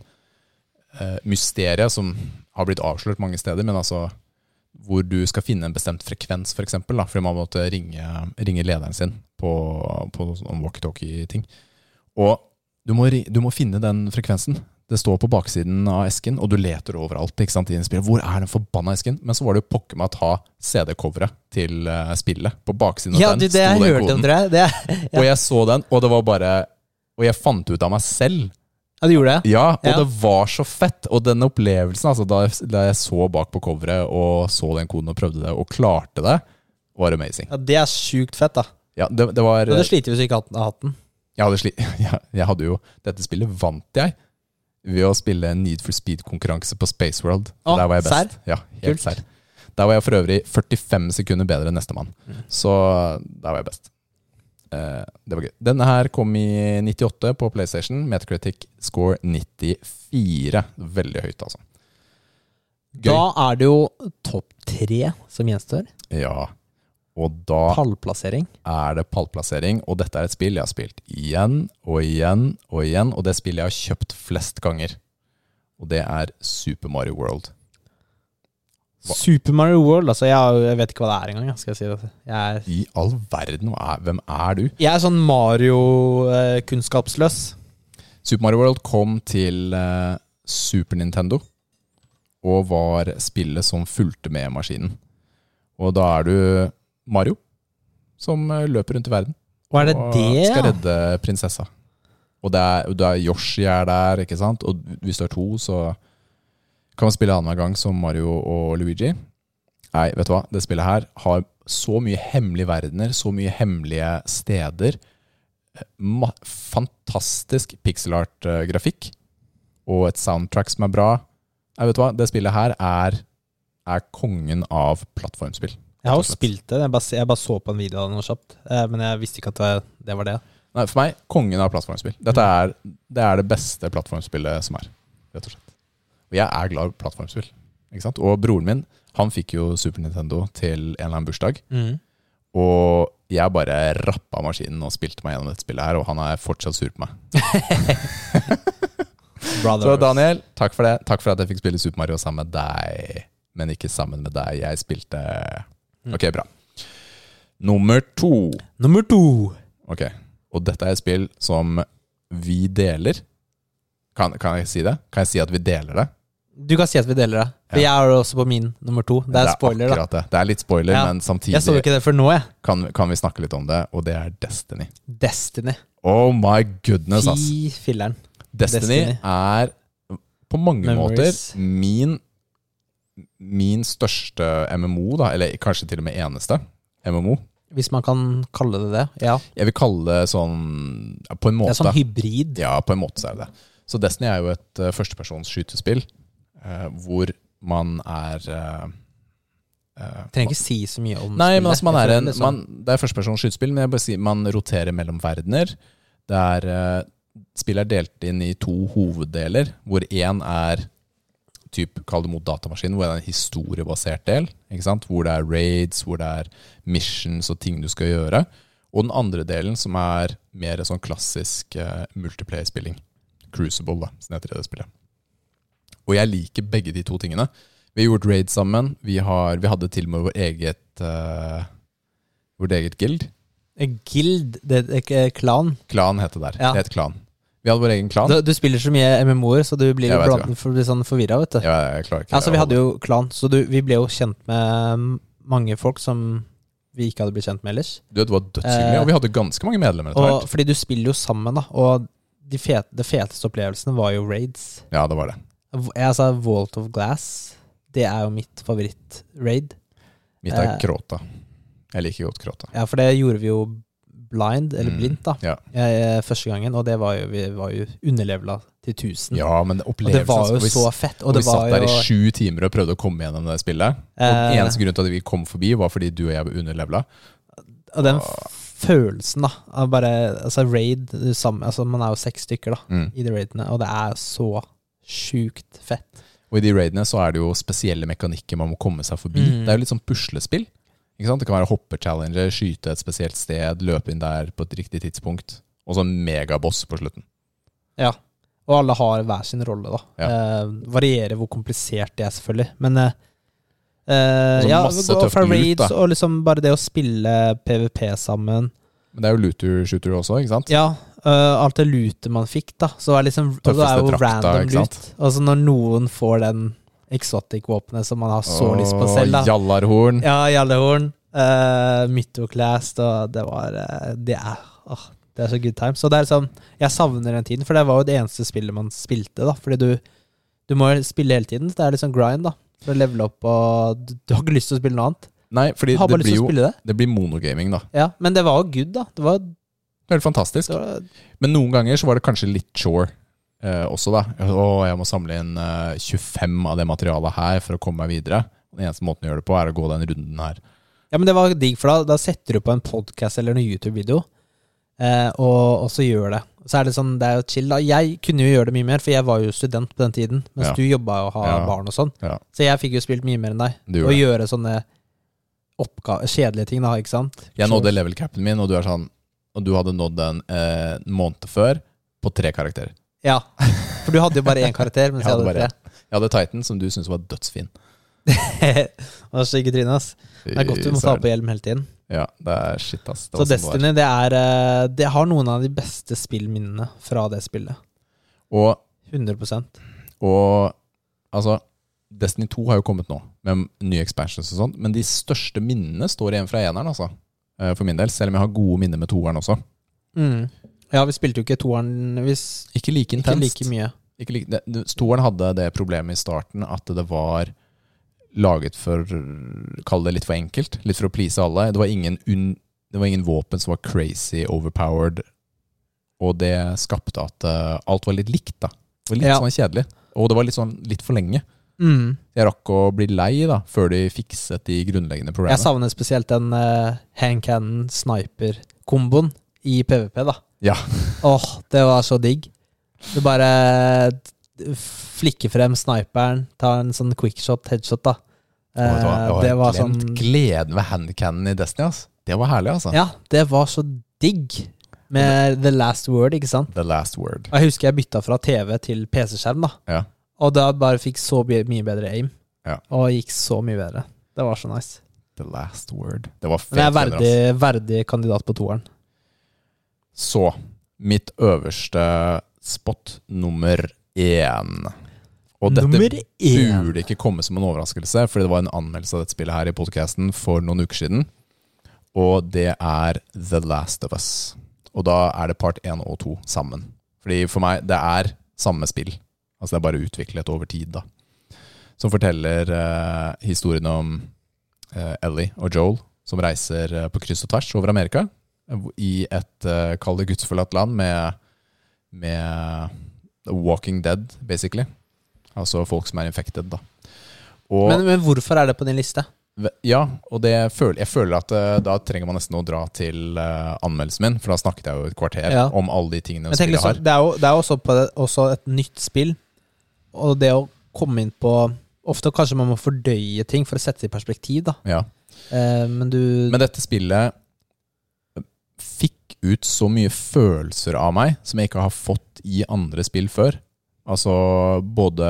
B: eh, mysterie som har blitt avslørt mange steder, men altså hvor du skal finne en bestemt frekvens, for eksempel, da, fordi man måtte ringe, ringe lederen sin på, på sånn walkietalkie-ting. Og du må, ri- du må finne den frekvensen. Det står på baksiden av esken, og du leter overalt. ikke sant, i en spill. Hvor er den forbanna esken? Men så var det jo pokker meg å ta CD-coveret til eh, spillet. På baksiden av
A: Ja,
B: den
A: du, det jeg
B: sto den
A: hørte om,
B: koden.
A: tror jeg. Det, ja.
B: Og jeg så den, og det var bare Og jeg fant ut av meg selv.
A: ja, du gjorde det?
B: Ja, og
A: Ja.
B: det var så fett. Og den opplevelsen, altså, da, jeg- da jeg så bak på coveret og så den koden og prøvde det, og klarte det, var amazing.
A: Ja, Det er sjukt fett, da.
B: Ja, det, det var
A: Du hadde slitt hvis du ikke hadde hatt den.
B: jeg hadde, sli, *laughs* jeg, jeg hadde jo Dette spillet vant jeg ved å spille en Need for Speed-konkurranse på Space World.
A: Å,
B: Der var jeg best.
A: serr?
B: Ja, helt
A: Kult.
B: serr. Der var jeg for øvrig 45 sekunder bedre enn nestemann.
A: Mm.
B: Så der var jeg best. Eh, det var gøy. Denne her kom i 98 på PlayStation. Metacritic score 94. Veldig høyt, altså. Gøy.
A: Da er det jo topp tre som gjenstår.
B: Ja. Og da
A: Pallplassering.
B: er det pallplassering, og dette er et spill jeg har spilt igjen og igjen og igjen, og det spillet jeg har kjøpt flest ganger. Og det er Super Mario World. Hva?
A: Super Mario World, altså. Jeg, har- jeg vet ikke hva det er engang. jeg, Skal jeg, si det. jeg er
B: I all verden, hva er, hvem er du?
A: Jeg er sånn eh, Mario-kunnskapsløs.
B: Super Mario World kom til eh, Super Nintendo, og var spillet som fulgte med maskinen. Og da er du Mario, som eh, løper rundt i verden.
A: Hva er det
B: og
A: det?
B: skal
A: ja?
B: redde prinsessa. Og det er, det er Yoshi er der, ikke sant? Og hvis du er to, så kan man spille annenhver gang som Mario og Luigi. Nei, vet du hva? Det spillet her har så mye hemmelige verdener, så mye hemmelige steder. Ma fantastisk pixel art-grafikk. Og et soundtrack som er bra. Nei, vet du hva? Det spillet her er, er kongen av plattformspill.
A: Jeg har
B: rett og
A: jo
B: slett.
A: spilt det. Jeg bare, se- jeg bare så på en video av det noe kjapt. eh, Men jeg visste ikke at det, det var det.
B: Nei, for meg, kongen av plattformspill. Dette er det, er det beste plattformspillet som er, rett og slett. Og jeg er glad i plattformspill. Ikke sant? Og broren min, han fikk jo Super Nintendo til en eller annen bursdag.
A: Mm.
B: Og jeg bare rappa maskinen og spilte meg gjennom dette spillet her, og han er fortsatt sur på meg. Så
A: Brothers.
B: Daniel, takk for det. Takk for at jeg fikk spille Super Mario sammen med deg. Men ikke sammen med deg. Jeg spilte Ok, bra. Nummer to.
A: Nummer to.
B: Ok, og dette er et spill som vi deler. Kan, kan jeg si det? Kan jeg si at vi deler det?
A: Du kan si at vi deler det. For jeg er jo også på min nummer to. Det er spoiler, da.
B: akkurat Det. det er litt spoiler,
A: Ja.
B: men
A: Jeg så jo
B: samtidig
A: ikke det før nå, jeg.
B: kan, kan vi snakke litt om det, og det er Destiny.
A: Destiny.
B: Oh my goodness, ass.
A: Fy filleren.
B: Destiny,
A: Destiny.
B: er på mange
A: Memories.
B: måter min, min største MMO, da, eller kanskje til og med eneste MMO.
A: Hvis man kan kalle det det. Ja.
B: Jeg vil kalle det sånn ja, På
A: Det
B: en måte.
A: er sånn hybrid.
B: Ja, på en måte så er det det. Så Destiny er jo et uh, førstepersons skytespill eh, hvor man er eh, eh,
A: Trenger ikke si så mye om
B: Nei,
A: spillet.
B: men altså man
A: Jeg
B: er
A: føler
B: en
A: sånn liksom-
B: man, Det er førstepersons skytespill, men jeg bare sier man roterer mellom verdener. Det er eh, Spillet er delt inn i to hoveddeler, hvor én er typ, Kall det mot datamaskinen, hvor det er en historiebasert del. Ikke sant? Hvor det er raids, hvor det er missions og ting du skal gjøre. Og den andre delen, som er mer sånn klassisk eh, multiplayer-spilling. Crucible, da, som heter det spillet. Og jeg liker begge de to tingene. Vi har gjort raid sammen. Vi, har, vi hadde til og med vår eget, eh, vårt eget guild.
A: Guild, det er ikke klan.
B: Klan het det der.
A: Ja.
B: Det het klan. Vi hadde vår egen klan.
A: Du, du spiller så mye MMO-er, så du blir,
B: Jeg vet
A: blant, for, blir sånn forvirra, vet du.
B: Ja, jeg klarer ikke
A: altså, vi hadde jo klan, så du, vi ble jo kjent med mm, mange folk som vi ikke hadde blitt kjent med ellers.
B: Du, det var dødshyggelig,
A: Eh,
B: og vi hadde ganske mange medlemmer etter
A: Og,
B: hvert.
A: fordi du spiller jo sammen, da. Og de fete, det feteste opplevelsen var jo raids.
B: Ja, det var det.
A: V- Jeg sa Vault of Glass. Det er jo mitt favoritt-raid.
B: Mitt er
A: Eh,
B: Kråta. Jeg liker godt Kråta.
A: Ja, for det gjorde vi jo blind, eller
B: Mm,
A: blindt, da.
B: ja.
A: eh, første gangen, og det var jo, vi var jo underlevela til 1000.
B: Ja, men
A: og det
B: opplevelsen
A: var jo
B: vi,
A: så fett. Og
B: vi
A: det var
B: satt der
A: jo
B: i sju timer og prøvde å komme gjennom det spillet. Og
A: Eh,
B: eneste grunn til at vi kom forbi, var fordi du og jeg var underlevela.
A: Og den f- følelsen, da. Av bare, altså raid du sammen altså Man er jo seks stykker da
B: Mm.
A: i de raidene, og det er så sjukt fett.
B: Og i de raidene så er det jo spesielle mekanikker man må komme seg forbi.
A: Mm.
B: Det er jo litt sånn puslespill. Ikke sant? Det kan være hoppe-challenger, skyte et spesielt sted, løpe inn der på et riktig tidspunkt. Og så en megaboss på slutten.
A: Og alle har hver sin rolle, da. Eh, varierer hvor komplisert det er, selvfølgelig. Men eh, eh,
B: Altså,
A: ja,
B: masse
A: gå
B: tøft
A: fra
B: loot,
A: raids
B: da.
A: og liksom bare det å spille PVP sammen.
B: Men det er jo looter-shooter også, ikke sant?
A: Ja, øh, alt det lootet man fikk, da. Så var liksom, og det er jo
B: Tøffeste drakta,
A: random
B: ikke sant?
A: loot. Altså når noen får den exotic-våpenet som man har så lyst på
B: Åh,
A: selv, da.
B: Jallarhorn.
A: Ja, jallehorn, uh, mytoclast, og det var øh, Det er åh, det er så good times. Og det er sånn, jeg savner den tiden, for det var jo det eneste spillet man spilte, da. Fordi du, du må jo spille hele tiden. Det er litt sånn grind, da. For å levele opp, og du, du har ikke lyst til å spille noe annet.
B: Nei,
A: Du
B: fordi
A: har
B: det
A: bare lyst
B: blir
A: til å
B: jo
A: spille det.
B: det blir monogaming, da.
A: Ja, men det var jo good, da. Det var,
B: Det er helt fantastisk.
A: det var
B: Men noen ganger så var det kanskje litt chore eh, også, da. Å, jeg må samle inn eh, 25 av det materialet her for å komme meg videre. Den eneste måten å gjøre det på, er å gå den runden her.
A: Ja, men det var digg, for da, da setter du på en podcast eller en YouTube-video, eh, og, og så gjør det. Så er det sånn, det er jo chill. Da. Jeg kunne jo gjøre det mye mer, for jeg var jo student på den tiden, mens
B: Ja.
A: du jobba og har
B: Ja.
A: barn og sånn.
B: Ja.
A: Så jeg fikk jo spilt mye mer enn deg. og
B: Du gjorde det.
A: gjøre sånne oppga- kjedelige ting, da, ikke sant?
B: Jeg nådde level capen min, og du er sånn Og du hadde nådd den eh, en måned før på tre karakterer.
A: Ja, for du hadde jo bare én
B: *laughs*
A: karakter, mens
B: Jeg
A: jeg
B: hadde
A: hadde,
B: bare Jeg hadde Titan, som du syntes var dødsfin.
A: tre. *laughs* Det var stygge trynet, ass. Det er godt du må ta på hjelm hele tiden.
B: Ja, det er shit, ass. Det
A: Så
B: var sånn det var.
A: Destiny, det er eh, Det har noen av de beste spillminnene fra det spillet.
B: Og
A: 100
B: Og altså Destiny 2 har jo kommet nå, med nye expansions og sånt. Men de største minnene står igjen fra eneren, altså. Eh, For min del. Selv om jeg har gode minner med toeren også.
A: Mm. Ja, vi spilte jo ikke toeren hvis
B: Ikke like
A: ikke
B: intenst.
A: like mye.
B: Ikke like- det- det- toeren hadde det problemet i starten at det var laget for Kall det litt for enkelt. Litt for å please alle. Det var ingen, un, det var ingen våpen som var crazy overpowered. Og det skapte at eh, alt var litt likt, da. Det var litt
A: Ja.
B: sånn kjedelig. Og det var litt sånn litt for lenge.
A: Mm.
B: Jeg rakk å bli lei da, før de fikset de grunnleggende
A: Jeg
B: problemene.
A: savner spesielt den uh, hand cannon sniper-komboen i PVP, da.
B: Ja. *laughs*
A: Åh, det var så digg. Du bare eh, flikker frem sniperen, tar en sånn quickshot, headshot, da.
B: Åh, vet du hva?
A: Eh,
B: Jeg har
A: det var sånn
B: glemt gleden ved handcannon i Destiny. Ass. Det var herlig, altså.
A: Ja, det var så digg med the last word, ikke sant?
B: The last word.
A: Og Jeg husker jeg bytta fra TV til PC-skjerm, da.
B: Ja.
A: Og da bare fikk så mye mye bedre aim.
B: Ja.
A: Og gikk så mye bedre. Det var så nice.
B: The last word. Det var
A: Men jeg
B: fett.
A: er
B: venner,
A: verdig, verdig kandidat på toeren.
B: ass. Så, mitt øverste spot nummer én. Og dette
A: Nummer én.
B: burde ikke komme som en overraskelse, fordi det var en anmeldelse av dette spillet her i podcasten for noen uker siden. Og det er The Last of Us. Og da er det part 1 og 2 sammen. Fordi for meg, det er samme spill. Altså det er bare utviklet over tid, da. Som forteller eh, historien om eh, Ellie og Joel, som reiser eh, på kryss og tvers over Amerika. eh, hvor- I et, eh, kall det gudsforlatt land, med, med The Walking Dead, basically. Altså folk som er infected, da. Og,
A: Men, men hvorfor er det på din liste?
B: Ve- Ja, og det føler, jeg føler at eh, da trenger man nesten å dra til eh, anmeldelsen min, for da snakket jeg jo et kvarter
A: Ja.
B: om alle de tingene
A: Jeg tenker liksom,
B: spillet har.
A: det er jo, det er jo også, på det, også et nytt spill, og det å komme inn på Ofte kanskje man må fordøye ting for å sette det i perspektiv, da.
B: Ja.
A: Eh, men du
B: Men dette spillet fikk ut så mye følelser av meg som jeg ikke har fått i andre spill før. Altså både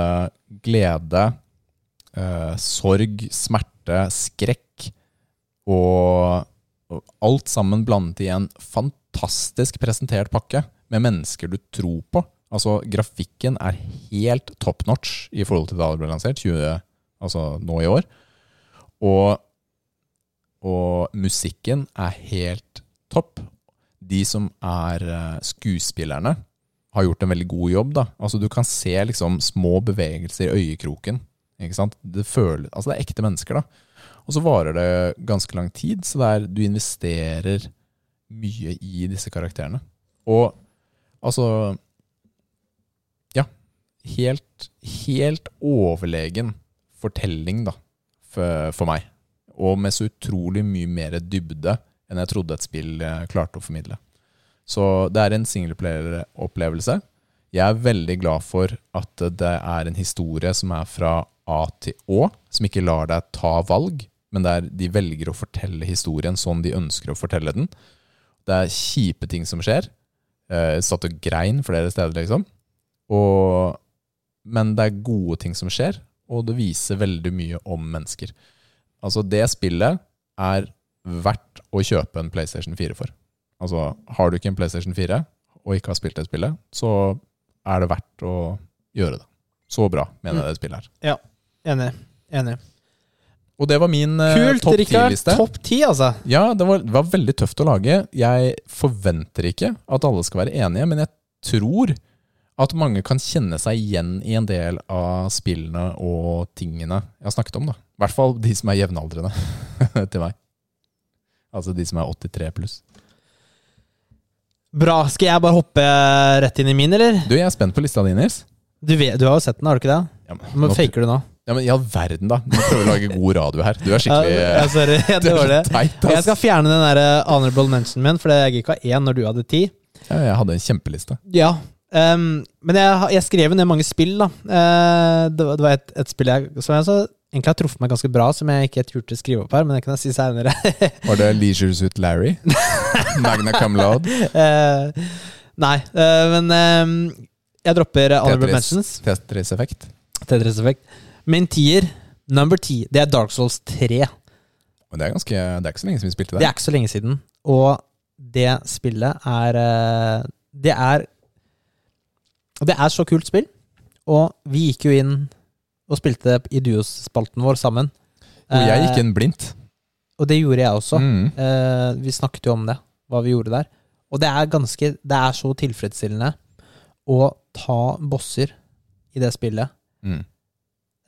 B: glede, eh, sorg, smerte, skrekk og, og alt sammen blandet i en fantastisk presentert pakke med mennesker du tror på. Altså, grafikken er helt top notch i forhold til da det ble lansert, 20, altså nå i år. Og, og musikken er helt topp. De som er eh, skuespillerne, har gjort en veldig god jobb. da. Altså Du kan se liksom små bevegelser i øyekroken. ikke sant? Det, føler, altså, det er ekte mennesker. da. Og så varer det ganske lang tid, så det er, du investerer mye i disse karakterene. Og altså Ja. Helt, helt overlegen fortelling, da, for, for meg. Og med så utrolig mye mer dybde enn jeg trodde et spill eh, klarte å formidle. Så det er en singleplayer-opplevelse. Jeg er veldig glad for at det er en historie som er fra A til Å, som ikke lar deg ta valg, men der de velger å fortelle historien sånn de ønsker å fortelle den. Det er kjipe ting som skjer. Eh, satt og grein flere steder, liksom. Og, men det er gode ting som skjer, og det viser veldig mye om mennesker. Altså, det spillet er verdt å kjøpe en PlayStation 4 for. Altså, har du ikke en PlayStation 4 og ikke har spilt det spillet, så er det verdt å gjøre det. Så bra, mener
A: Mm.
B: jeg det spillet her.
A: Enig. Enig.
B: Og det var min eh,
A: Kult,
B: topp
A: Rikard.
B: 10-liste.
A: Topp ti, altså.
B: Ja, det var, det var veldig tøft å lage. Jeg forventer ikke at alle skal være enige, men jeg tror at mange kan kjenne seg igjen i en del av spillene og tingene jeg har snakket om. da. I hvert fall de som er jevnaldrende *laughs* til meg. Altså de som er 83 pluss.
A: Bra. Skal jeg bare hoppe rett inn i min, eller?
B: Du, jeg er spent på lista di, Nils.
A: Du, vet, du har jo sett den, har du ikke det?
B: Ja, men,
A: Men
B: nå-
A: faker du nå?
B: Ja, men I all verden, da. Du prøver å lage god radio her. Du er skikkelig
A: Ja, ja, sorry, *laughs* jeg
B: *laughs* Du er
A: dårlig.
B: så teit,
A: Jeg
B: ass.
A: skal fjerne den der eh, honorable mention min, for jeg gikk ikke ha én når du hadde ti.
B: Ja, jeg hadde en kjempeliste.
A: Ja, ehm, men jeg, har- jeg skrev jo ned mange spill, da. Eh, det, var- det var et, et spill jeg, som jeg så, egentlig har truffet meg ganske bra, som jeg ikke turte å skrive opp her, men det kan jeg si *laughs* seinere.
B: Var det Leisure Suit
A: *laughs*
B: Larry? Magna Camelot?
A: nei, eh, men ehm, jeg dropper eh, honorable mentions.
B: Tetris, Tetris Effect?
A: Tetris Effect. Min tier, number ti, det er Dark Souls 3.
B: Og det er, ganske, det er ikke så lenge siden vi spilte
A: Det
B: det.
A: er ikke så lenge siden. Og det spillet er eh, Det er Det er så kult spill. Og vi gikk jo inn og spilte i duospalten vår sammen.
B: Og jeg
A: Eh,
B: gikk inn blindt.
A: og det gjorde jeg også.
B: Mm.
A: Eh, vi snakket jo om det, hva vi gjorde der. Og det er ganske Det er så tilfredsstillende å ta bosser i det spillet
B: Mm.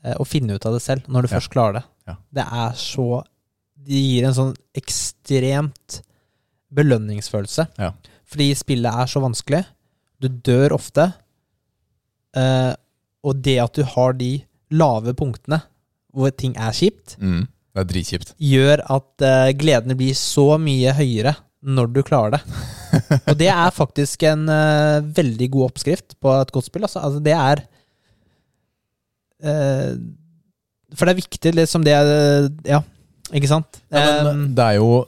A: eh, og finne ut av det selv, når du
B: Ja.
A: først klarer det.
B: Ja.
A: Det er så Det gir en sånn ekstremt belønningsfølelse.
B: Ja.
A: Fordi spillet er så vanskelig. Du dør ofte. Eh, og det at du har de lave punktene hvor ting er kjipt,
B: Mm. Det er dritkjipt.
A: gjør at eh, gledene blir så mye høyere når du klarer det.
B: *laughs*
A: Og det er faktisk en eh, veldig god oppskrift på et godt spill. Altså, altså det er eh, For det er viktig, liksom det er, Ja, ikke sant? Ehm,
B: Ja, men eh,
A: Em,
B: det er jo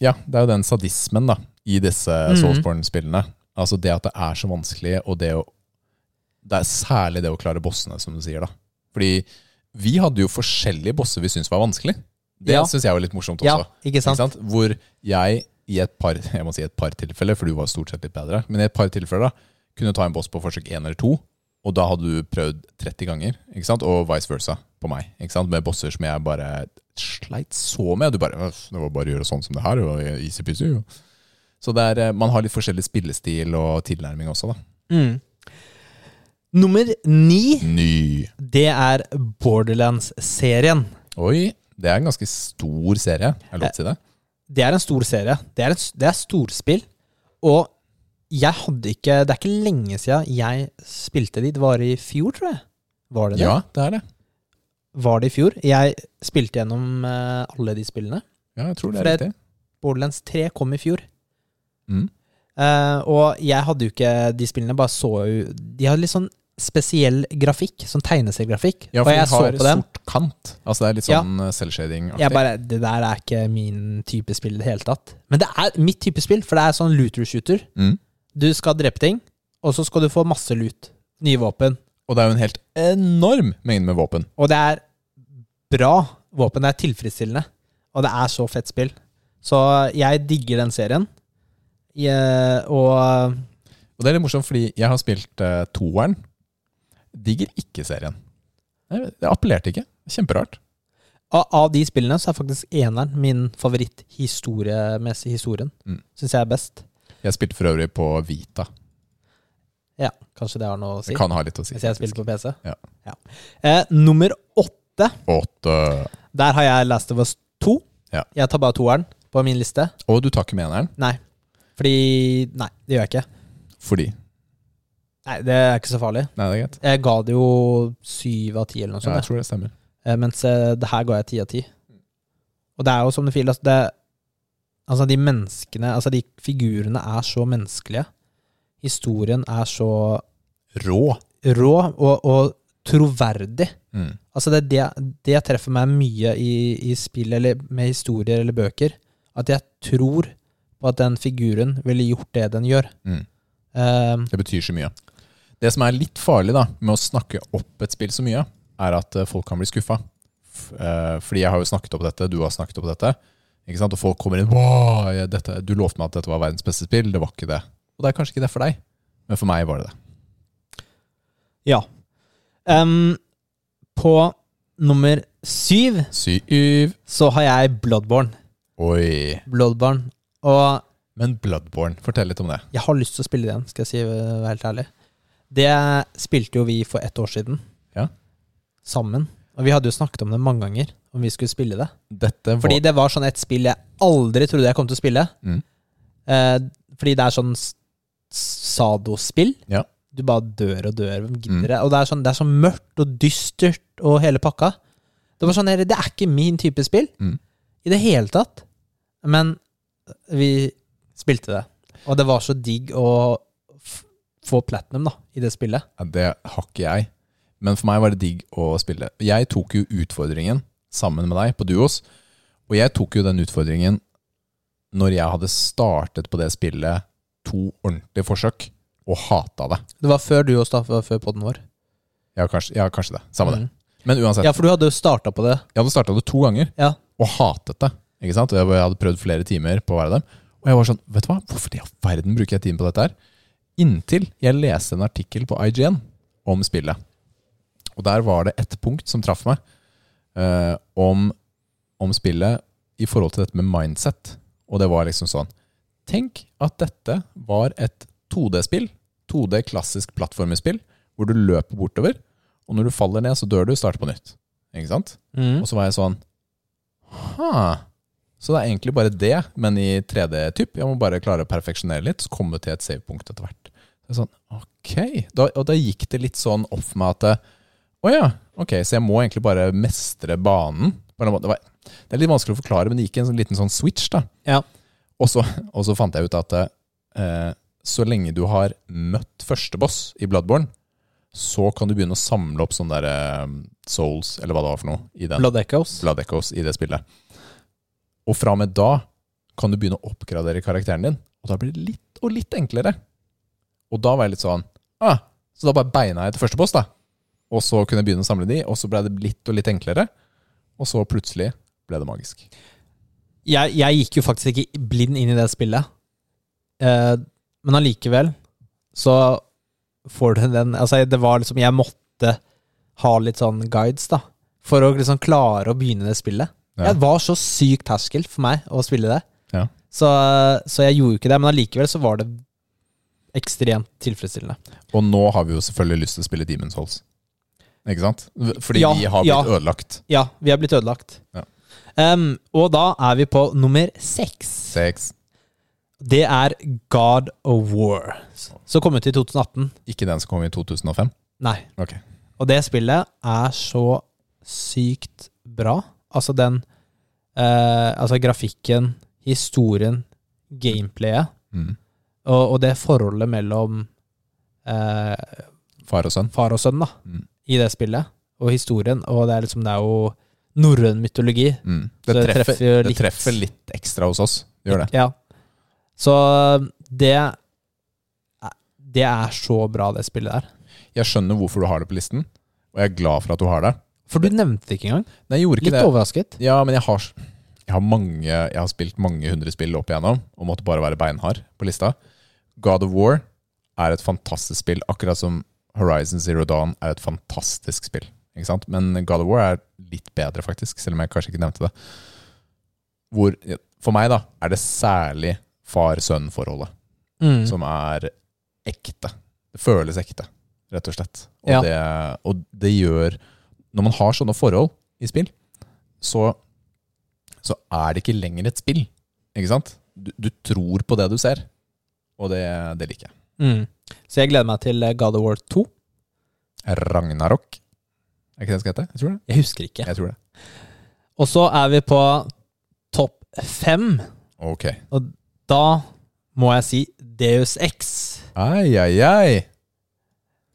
B: Ja, det er jo den sadismen da i disse
A: Mhm.
B: Soulsborne-spillene. Altså det at det er så vanskelig, og det å Det er særlig det å klare bossene, som du sier, da. Fordi vi hadde jo forskjellige bosser vi syntes var vanskelig. Det
A: Ja.
B: synes syns jeg var litt morsomt også.
A: ja, ikke sant?
B: Ikke sant? Hvor jeg i et par, *laughs* jeg må si et par tilfeller, for du var stort sett litt bedre, men i et par tilfeller da, kunne ta en boss på forsøk én eller to, og da hadde du prøvd 30 ganger, ikke sant? og vice versa på meg. Ikke sant? Med bosser som jeg bare sleit så med. Du bare «Øff, Det var bare å gjøre sånn som det her, og easy-peasy. jo». Så det er, eh, man har litt forskjellig spillestil og tilnærming også, da.
A: Mm. Nummer ni,
B: Mm. Ny.
A: det er Borderlands-serien.
B: Oi, det er en ganske stor serie, er det lov til å si det?
A: Det er en stor serie. Det er, en, det er storspill. Og jeg hadde ikke Det er ikke lenge siden jeg spilte de. Det var i fjor, tror jeg. Var det det?
B: Ja, det er det.
A: Var det i fjor? Jeg spilte gjennom eh, alle de spillene.
B: Ja, jeg tror det
A: For
B: er
A: det-
B: riktig.
A: Borderlands 3 kom i fjor.
B: Mm.
A: Eh, og jeg hadde jo ikke de spillene, bare så jo De har litt sånn spesiell grafikk, sånn tegneseriegrafikk.
B: Ja,
A: og
B: for
A: jeg
B: den
A: så
B: har
A: på den.
B: sort kant. Altså det er litt
A: Ja.
B: sånn selvshading-aktig.
A: Jeg bare, Det der er ikke min type spill i det hele tatt. Men det er mitt type spill, for det er sånn looter-shooter.
B: Mm.
A: Du skal drepe ting, og så skal du få masse lut. Nye våpen.
B: Og det er jo en helt enorm mengde med våpen.
A: Og det er bra våpen. Det er tilfredsstillende. Og det er så fett spill. Så jeg digger den serien. Jeg, og
B: Og det er litt morsomt, fordi jeg har spilt eh, toeren. Digger ikke serien. Jeg vet- Det appellerte ikke. Kjemperart.
A: av, av de spillene så er faktisk eneren min favoritt historiemessig. Historien
B: Mm.
A: Synes jeg er best.
B: Jeg spilte for øvrig på Vita.
A: Ja, kanskje det har noe å si.
B: Det kan ha litt å si.
A: Hvis jeg spiller på PC.
B: Ja.
A: Eh, nummer åtte,
B: Åtte.
A: der har jeg Last of Us 2.
B: Ja.
A: Jeg tar bare toeren på min liste.
B: Og du tar ikke med eneren,
A: Nei. Fordi Nei, det gjør jeg ikke.
B: fordi
A: Nei, Det er Sånn, ikke så farlig.
B: Nei, det er greit.
A: Jeg ga det jo syv av ti, eller noe
B: Ja,
A: sånt.
B: jeg tror det stemmer.
A: Eh, Mens eh, det her ga jeg ti av ti. Og det er jo som det filer, altså, det, altså de menneskene, altså de figurene er så menneskelige. Historien er så
B: Rå.
A: rå og, og troverdig.
B: Mm.
A: Altså det, det, det treffer meg mye i, i spill eller med historier eller bøker. At jeg tror på at den figuren ville gjort det den gjør.
B: Mm.
A: Ehm,
B: Det betyr så mye. Det som er litt farlig da, med å snakke opp et spill så mye, er at eh, folk kan bli skuffa. F- eh, Fordi jeg har jo snakket opp dette, du har snakket opp dette. Ikke sant? Og folk kommer inn «Wow, jeg- dette, Du lovte meg at dette var verdens beste spill, det var ikke det. Og det er kanskje ikke det for deg, men for meg var det det.
A: ehm, på nummer syv
B: Syv.
A: så har jeg Bloodborne.
B: Oi.
A: Bloodborne. Og
B: Men Bloodborne, fortell litt om det.
A: jeg har lyst til å spille den, skal jeg si eh, være helt ærlig. Det spilte jo vi for ett år siden.
B: Ja.
A: Sammen. Og vi hadde jo snakket om det mange ganger, om vi skulle spille det.
B: Dette var
A: Fordi det var sånn et spill jeg aldri trodde jeg kom til å spille.
B: Mm.
A: Eh, fordi det er sånn s- sadospill.
B: Ja.
A: Du bare dør og dør. Hvem
B: Mm.
A: gidder det? Og det er, sånn, det er så mørkt og dystert og hele pakka. Det var sånn, "Dere, det er ikke min type spill
B: Mm.
A: i det hele tatt. Men vi spilte det. Og det var så digg å f få platinum da, i det spillet.
B: Ja, Det har ikke jeg. Men for meg var det digg å spille. Jeg tok jo utfordringen sammen med deg på Duos. Og jeg tok jo den utfordringen når jeg hadde startet på det spillet to ordentlige forsøk og hata det.
A: Det var før du og Staff var før podden vår.
B: Ja, kanskje, ja, kanskje det. Samme
A: Mm.
B: det. Men uansett.
A: Ja, for du hadde jo starta på det.
B: Jeg hadde starta det to ganger
A: Ja.
B: og hatet det. Ikke sant? Og Jeg hadde prøvd flere timer på hver av dem. Og jeg var sånn, vet du hva, hvorfor i all verden bruker jeg tid på dette her? Inntil jeg leste en artikkel på IGN om spillet. Og der var det ett punkt som traff meg, eh, om, om spillet i forhold til dette med mindset. Og det var liksom sånn Tenk at dette var et 2D-spill. 2D klassisk plattformespill, hvor du løper bortover, og når du faller ned, så dør du, starter på nytt. Ikke sant?
A: Mm.
B: Og så var jeg sånn Ha. Så det er egentlig bare det, men i 3D-typ. Jeg må bare klare å perfeksjonere litt, så komme til et savepunkt etter hvert. Så jeg er sånn, ok. Da, og da gikk det litt sånn opp for meg at eh, Å ja, ok, så jeg må egentlig bare mestre banen. På en eller annen måte. Det, var, det er litt vanskelig å forklare, men det gikk en sånn, liten sånn switch, da.
A: Ja.
B: Og, så, og så fant jeg ut at eh, så lenge du har møtt første boss i Bloodborne, så kan du begynne å samle opp sånne der, eh, souls, eller hva det var for noe, i den
A: Mm. Blood Echoes.
B: Blood Echoes i det spillet. Og fra og med da kan du begynne å oppgradere karakteren din, og da blir det litt og litt enklere. Og da var jeg litt sånn ah, Så da bare beina jeg til første boss, da. Og så kunne jeg begynne å samle de, og så ble det litt og litt enklere. Og så plutselig ble det magisk.
A: jeg, jeg gikk jo faktisk ikke blind inn i det spillet. Eh, men allikevel så får du den Altså, det var liksom Jeg måtte ha litt sånn guides, da. For å liksom klare å begynne det spillet.
B: Ja.
A: Det var så syk terskel for meg å spille det.
B: Ja.
A: Så, eh, så jeg gjorde jo ikke det. Men allikevel så var det ekstremt tilfredsstillende.
B: Og nå har vi jo selvfølgelig lyst til å spille Demon's Souls. Ikke sant? Fordi
A: Ja,
B: vi har blitt
A: ja.
B: ødelagt.
A: Ja, vi er blitt ødelagt.
B: Ja.
A: Em, og da er vi på nummer seks.
B: Sex.
A: Det er God of War, som kom ut i 2018.
B: Ikke den som kom i 2005.
A: Nei.
B: Ok.
A: Og det spillet er så sykt bra. Altså den eh, Altså grafikken, historien, gameplayet
B: Mm.
A: og, og det forholdet mellom eh,
B: Far og sønn.
A: far og sønn da
B: Mm.
A: i det spillet, og historien. Og det er liksom Det er jo norrøn mytologi.
B: Mm.
A: Så
B: Det, treffer,
A: jo
B: det treffer litt ekstra hos oss. Det gjør det.
A: Ja. Så det Det er så bra, det spillet der.
B: Jeg skjønner hvorfor du har det på listen, og jeg er glad for at du har det.
A: For du nevnte det ikke engang.
B: Nei, jeg gjorde ikke
A: Litt
B: det.
A: overrasket.
B: Ja, men jeg har, s- jeg har mange Jeg har spilt mange hundre spill opp igjennom og måtte bare være beinhard på lista. God of War er et fantastisk spill, akkurat som Horizon Zero Dawn er et fantastisk spill. Ikke sant? Men God of War er litt bedre, faktisk, selv om jeg kanskje ikke nevnte det. Hvor, for meg da, er det særlig far-sønn-forholdet
A: Mm.
B: som er ekte. Det føles ekte, rett og slett. Og,
A: Ja.
B: det, og det gjør Når man har sånne forhold i spill, så, så er det ikke lenger et spill. Ikke sant? Du, du tror på det du ser, og det, det liker jeg.
A: Mm. Så jeg gleder meg til eh, God of War 2.
B: Ragnarok. Er ikke det det skal hete? Jeg tror det.
A: Jeg husker ikke.
B: Jeg tror det.
A: Og så er vi på topp fem.
B: Ok.
A: Da må jeg si Deus X.
B: Ai, ai, ai.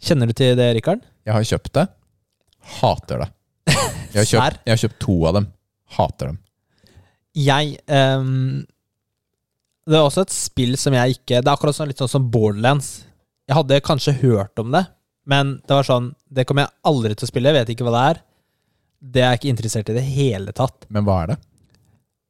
A: Kjenner du til det, Rikard?
B: Jeg har kjøpt det. Hater det. Jeg har
A: Serr?
B: kjøpt, jeg har kjøpt to av dem. Hater dem.
A: Jeg ehm, Det er også et spill som jeg ikke Det er akkurat sånn, litt sånn som Borderlands. Jeg hadde kanskje hørt om det, men det var sånn Det kommer jeg aldri til å spille, jeg vet ikke hva det er. Det er jeg ikke interessert i i det hele tatt.
B: Men hva er det?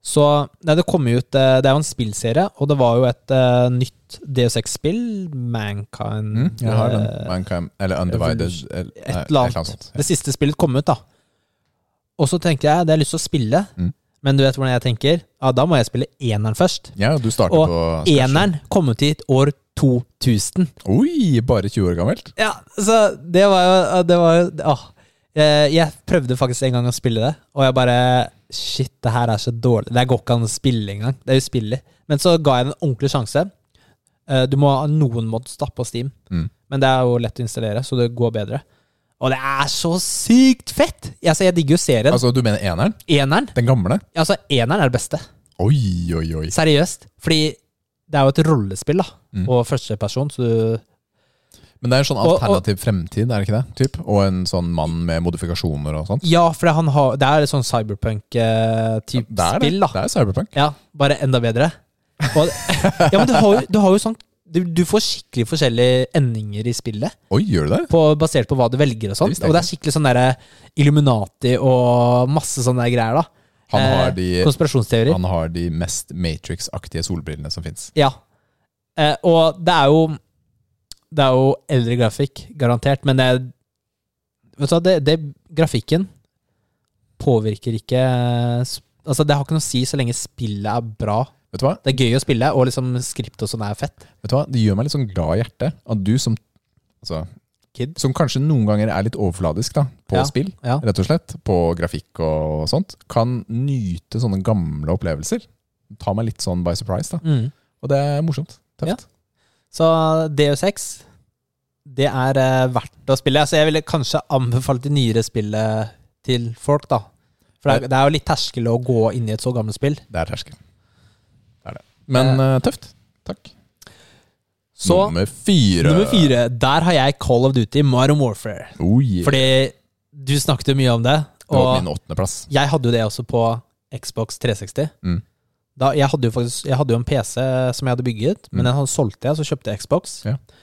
A: Så nei, det kom jo ut eh, Det er jo en spillserie, og det var jo et eh, nytt DOSX-spill, Mankind
B: Mm, jeg har den.
A: eh,
B: Mankind, eller Undivided.
A: Evolution.
B: Eller,
A: Et eller annet.
B: sånt.
A: Det siste spillet kom ut, da. Og så tenkte jeg det har jeg lyst til å spille,
B: Mm.
A: men du vet hvordan jeg tenker? Ja, da må jeg spille eneren først.
B: Ja, du starter
A: Og
B: på
A: Eneren kom ut i et år 2000.
B: Oi, bare 20 år gammelt?
A: Ja, så det var jo, det var jo åh. Eh, Jeg prøvde faktisk en gang å spille det, og jeg bare Shit, det her er så dårlig. Det går ikke an å spille engang. Det er uspillelig. Men så ga jeg det en ordentlig sjanse. Eh, Du må ha noen mods da på Steam,
B: Mm.
A: men det er jo lett å installere, så det går bedre. Og det er så sykt fett! Altså, jeg digger jo serien.
B: Altså, du mener eneren?
A: eneren
B: Den gamle?
A: altså eneren er det beste.
B: Oi, oi, oi.
A: Seriøst. Fordi det er jo et rollespill, da.
B: Mm.
A: Og førsteperson, så du
B: Men det er en sånn
A: Og- og-
B: alternativ fremtid, er det ikke det? Typ? Og en sånn mann med modifikasjoner og sånt.
A: Ja, for det, han har, det er et sånn cyberpunk-type
B: Det er det.
A: spill, da.
B: Det er cyberpunk.
A: Ja, bare enda bedre. Og, ja, men du har, jo- du har jo sånn du, du får skikkelig forskjellige endinger i spillet,
B: Oi, gjør du det?
A: på, basert på hva du velger og sånn.
B: Det visste jeg
A: Og det er skikkelig sånn derre Illuminati og masse sånne der greier, da.
B: Han har
A: Eh,
B: de,
A: Konspirasjonsteorier.
B: han har de mest Matrix-aktige solbrillene som fins.
A: Ja. Eh, og det er jo Det er jo eldre grafikk, garantert, men det Vet du hva, det, det grafikken påvirker ikke sp- Altså, det har ikke noe å si så lenge spillet er bra.
B: Vet du hva?
A: Det er gøy å spille, og liksom skript og sånn er fett.
B: Vet du hva? Det gjør meg litt sånn glad i hjertet at du som altså,
A: Kid.
B: Som kanskje noen ganger er litt overfladisk da, på
A: Ja,
B: spill,
A: ja.
B: rett og slett, på grafikk og sånt, kan nyte sånne gamle opplevelser. Ta meg litt sånn by surprise, da.
A: Mm.
B: Og det er morsomt. Tøft.
A: Ja. Så DU6, det er eh, verdt å spille. Altså, jeg ville kanskje anbefalt de nyere spillet til folk, da. For det er, det er jo litt terskel å gå inn i et så gammelt spill.
B: Det er terskel. Det er det. Men eh, tøft. Takk.
A: Så
B: nummer fire.
A: Nummer fire. Der har jeg Call of Duty Modern Warfare.
B: Oh, yeah.
A: Fordi du snakket jo mye om det.
B: det var
A: Og
B: min åttendeplass.
A: jeg hadde jo det også på Xbox 360.
B: Mm.
A: Da, jeg, hadde jo faktisk, jeg hadde jo en PC som jeg hadde bygget, men den hadde- solgte jeg, så kjøpte jeg Xbox.
B: Mm. Ja.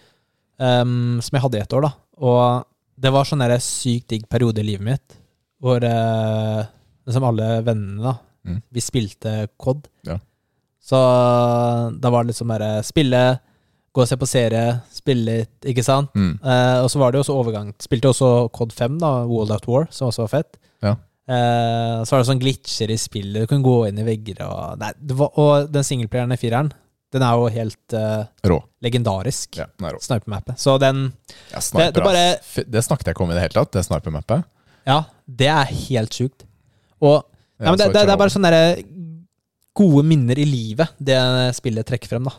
A: ehm, som jeg hadde i ett år, da. Og det var sånn der sykt digg periode i livet mitt hvor eh, liksom alle vennene, da,
B: Mm.
A: vi spilte COD.
B: Ja.
A: Så da var det liksom bare spille, gå og se på serie, spille litt, ikke sant?
B: Mm.
A: Eh, og så var det jo også overgang. Spilte også Cod 5, da, World Out War, som også var fett.
B: Ja.
A: Eh, så var det sånn glitcher i spillet, du kunne gå inn i vegger og Nei, det var, og den singelplayeren i fireren, den er jo helt eh,
B: Rå.
A: legendarisk.
B: Ja, den er rå.
A: Snipermappet. Så den
B: Ja, sniper,
A: det bare-
B: ass. Fy- det snakket jeg ikke om i det hele tatt, det sniper-mappet.
A: Ja, det er helt sjukt. Og nei,
B: Ja,
A: men det, det,
B: så
A: det er
B: kjør
A: bare sånne der gode minner i livet det spillet trekker frem, da.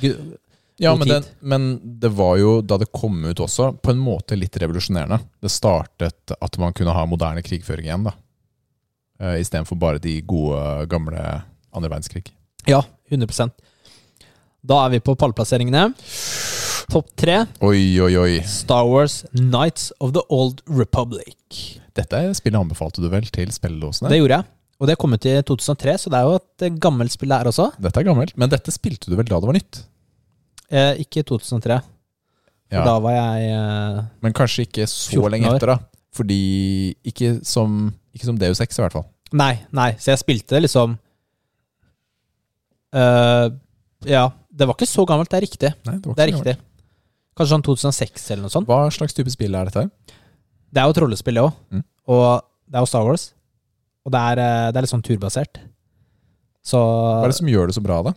A: Gu-
B: Ja,
A: God
B: men,
A: tid.
B: den, men det var jo, da det kom ut også, på en måte litt revolusjonerende. Det startet at man kunne ha moderne krigføring igjen, da. Eh, Istedenfor bare de gode, gamle andre verdenskrig.
A: Ja, 100 Da er vi på pallplasseringene. Topp tre.
B: Oi, oi, oi.
A: Star Wars Knights of the Old Republic.
B: Dette spillet anbefalte du vel til spilledåsene?
A: Det gjorde jeg. Og det kom ut i 2003, så det er jo et eh, gammelt spill her også.
B: Dette er gammelt, men dette spilte du vel da det var nytt?
A: Eh, ikke i 2003, for
B: Ja,
A: da var jeg eh,
B: Men kanskje ikke så
A: 14
B: lenge
A: år.
B: etter, da. Fordi Ikke som, ikke som Deus Ex, i hvert fall.
A: Nei, nei. Så jeg spilte det liksom eh, Ja. Det var ikke så gammelt, det er riktig.
B: Nei, det, var
A: Det er
B: ikke
A: riktig. Kanskje sånn 2006 eller noe sånt.
B: Hva slags type spill er dette?
A: Det er jo et rollespill, det òg.
B: Mm.
A: Og det er jo Star Wars. Og det er, eh, det er litt sånn turbasert. Så
B: Hva er det som gjør det så bra, da?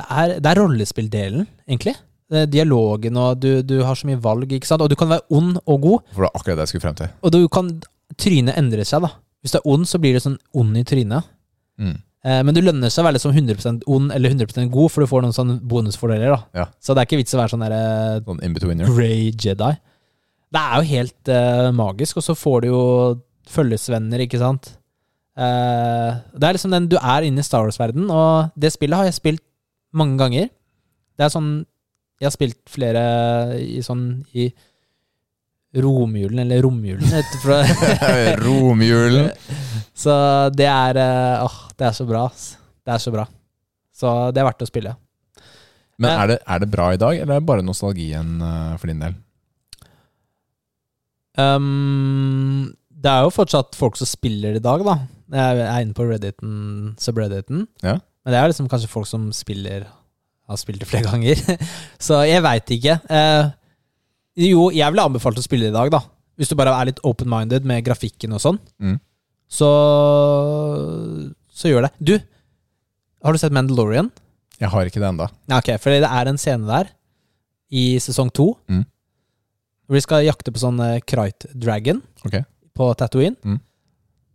A: det er, det er rollespilldelen, egentlig. Det er Dialogen og du, du har så mye valg, ikke sant. Og du kan være ond og god,
B: For det var akkurat det jeg skulle frem til.
A: og du kan Trynet endrer seg, da. Hvis du er ond, så blir du sånn ond i trynet.
B: Mm.
A: Eh, men du lønner seg å være liksom 100 ond eller 100 god, for du får noen sånne bonusfordeler, da.
B: Ja.
A: Så det er ikke vits å være sånn derre
B: Sånn in-betweener.
A: Grey Jedi. Det er jo helt eh, magisk, og så får du jo følgesvenner, ikke sant. Eh, det er liksom den du er inne i Star Wars-verden, og det spillet har jeg spilt mange ganger. Det er sånn Jeg har spilt flere i sånn i romjulen, eller romjulen, vet du, for-
B: *laughs* Romjulen!
A: *laughs* så det er eh, Åh, det er så bra, ass. Det er så bra. Så det er verdt å spille.
B: Men er det, er det bra i dag, eller er det bare nostalgien eh, for din del?
A: Um, det er jo fortsatt folk som spiller i dag, da. Jeg er inne på Redditen, subredditen.
B: Ja.
A: Men det er liksom kanskje folk som spiller har spilt det flere ganger. *laughs* Så jeg veit ikke. Eh, jo, jeg ville anbefalt å spille det i dag, da. Hvis du bare er litt open-minded med grafikken og sånn.
B: Mm.
A: Så så gjør det. Du, har du sett Mandalorian?
B: Jeg har ikke det ennå.
A: Ja, ok, for det er en scene der i sesong to.
B: Mm.
A: Hvor de skal jakte på sånn eh, Krite Dragon
B: Ok.
A: på Tatooine.
B: Mm.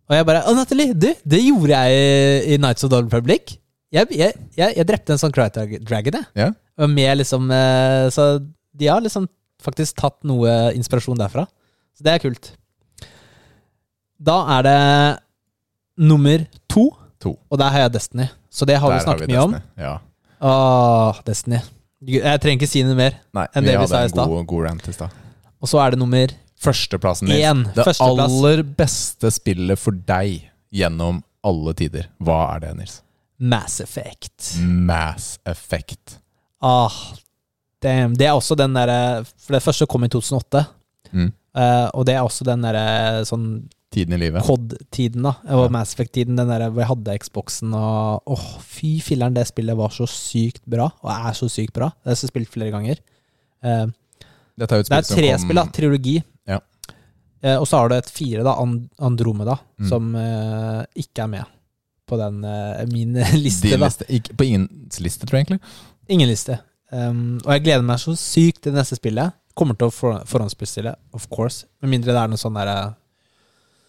A: Og jeg bare Å, Natalie, du, det gjorde jeg i, i Nights of the Old Republic. Jeg, jeg, jeg, jeg drepte en sånn Krite Dragon, jeg.
B: Ja.
A: Og med liksom eh, Så de har liksom faktisk tatt noe inspirasjon derfra. Så det er kult. Da er det nummer to,
B: To.
A: og der har jeg Destiny. Så det har
B: Der
A: vi snakket
B: vi
A: mye om.
B: Destiny. Ja.
A: Åh, Ah, Destiny. Gud, Jeg trenger ikke si noe mer.
B: Nei,
A: Enn
B: vi
A: det vi sa i
B: hadde en
A: stad.
B: god, god rant i stad.
A: Og så er det nummer
B: Førsteplassen Nils.
A: én.
B: Det
A: Førsteplass.
B: aller beste spillet for deg gjennom alle tider. Hva er det, Nils?
A: Mass Effect.
B: Mass Effect.
A: Ah, damn. Det er også den derre For det første kom i 2008.
B: Mm.
A: eh, og det er også den derre sånn
B: Tiden i livet.
A: COD-tiden, da. Og
B: Ja.
A: Mass Effect-tiden. Den derre hvor jeg hadde Xboxen og Åh, fy filleren, det spillet var så sykt bra. Og er så sykt bra. Det har jeg spilt flere ganger. Eh,
B: Dette er jo et
A: Det er
B: spill
A: tre
B: som
A: spill, da.
B: kom
A: Trilogi.
B: Ja.
A: Eh, og så har du et fire, da. And Andromeda,
B: Mm.
A: som eh, ikke er med på den eh, min *laughs* liste.
B: Din
A: da.
B: liste. Ikke, på ingens liste, tror jeg egentlig.
A: Ingen liste. Um, og jeg gleder meg så sykt til det neste spillet. Kommer til å for forhåndsbestille, of course. Med mindre det er noe sånn derre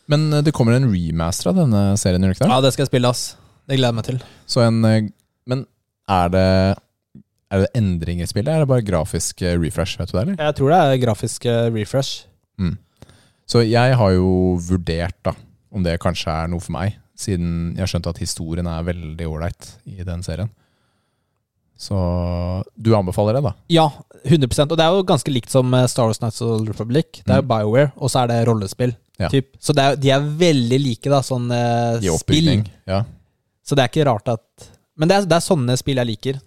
B: Men eh, det kommer en remaster av denne serien, gjør det ikke det?
A: Ja, det skal jeg spille, ass. Det gleder jeg meg til.
B: Så en, eh, men er det, er det endringer i spillet, eller er det bare grafisk eh, refresh? Vet du det, eller?
A: Jeg tror det er grafisk eh, refresh.
B: Så jeg har jo vurdert da, om det kanskje er noe for meg, siden jeg har skjønt at historien er veldig ålreit i den serien. Så du anbefaler det, da?
A: Ja, 100 Og det er jo ganske likt som eh, Star Wars Nights of the Old Republic. Det er jo BioWare, og så er det rollespill.
B: Mm. Ja.
A: Typ. Så det er, de er veldig like, da, sånn eh,
B: I
A: spill.
B: oppbygning? Ja.
A: Så det er ikke rart at Men det er, det er sånne spill jeg liker.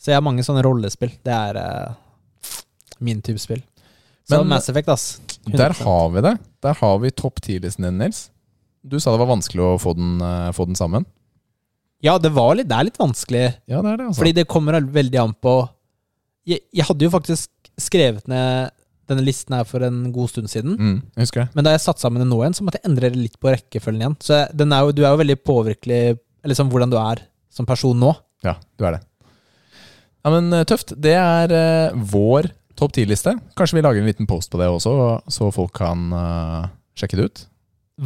A: Så jeg har mange sånne rollespill. Det er eh, min type spill. Så
B: Men-
A: Mass Effect, ass. 100%.
B: Der har vi det. Der har vi topp 10-listen din, Nils. Du sa det var vanskelig å få den, eh, få den sammen.
A: Ja, det, var litt, det er litt vanskelig,
B: Ja, det er det, altså.
A: fordi det kommer veldig an på jeg, jeg hadde jo faktisk skrevet ned denne listen her for en god stund siden.
B: mm, jeg husker det.
A: Men da jeg satte sammen den nå igjen, så måtte jeg endre litt på rekkefølgen igjen. Så jeg- den er jo, du er jo veldig påvirkelig Eller sånn hvordan du er som person nå.
B: Ja, du er det. Ja, men eh, tøft. Det er eh, vår topp 10-liste. Kanskje vi lager en liten post på det også, så folk kan eh, sjekke det ut.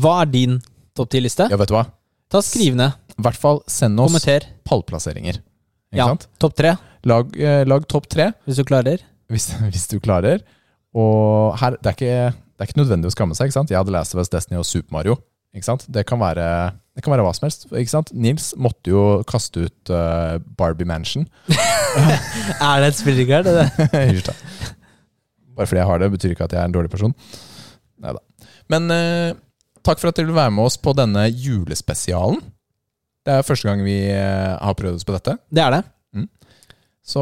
A: Hva er din topp 10-liste?
B: Ja, vet du hva?
A: Ta Skriv ned.
B: I hvert fall send oss
A: Kommenter.
B: pallplasseringer. Ikke
A: Ja,
B: sant?
A: topp tre,
B: Lag, eh, lag topp tre *laughs*
A: hvis du klarer.
B: hvis, hvis du klarer. Og her, det er, ikke, det er ikke nødvendig å skamme seg. ikke sant? Jeg hadde Last of Us, Destiny og Super Mario. ikke sant? Det kan være, det kan være hva som helst. ikke sant? Nils måtte jo kaste ut eh, Barbie Mansion.
A: Er det et spill, Rikard? Er det det?
B: Unnskyld, da. Bare fordi jeg har det, betyr ikke at jeg er en dårlig person. Neida. Men eh, takk for at dere vil være med oss på denne julespesialen. Det er første gang vi eh, har prøvd oss på dette.
A: Det er det.
B: Så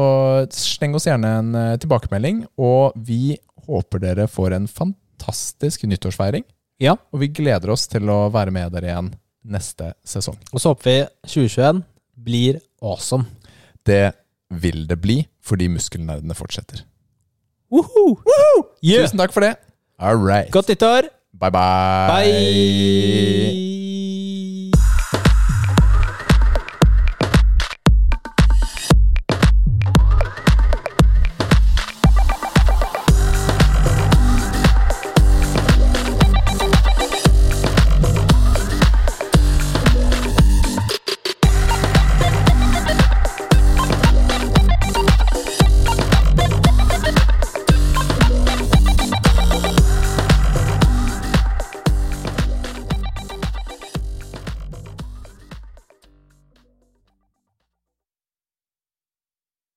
B: sleng oss gjerne en eh, tilbakemelding, og vi håper dere får en fantastisk nyttårsfeiring.
A: Ja.
B: Og vi gleder oss til å være med dere igjen neste sesong.
A: Og så håper vi 2021 blir awesome.
B: Det vil det bli, fordi muskelnerdene fortsetter.
A: Woohoo! Yeah!
B: Tusen takk for det. All right.
A: Godt nyttår!
B: Bye bye.
A: Bye!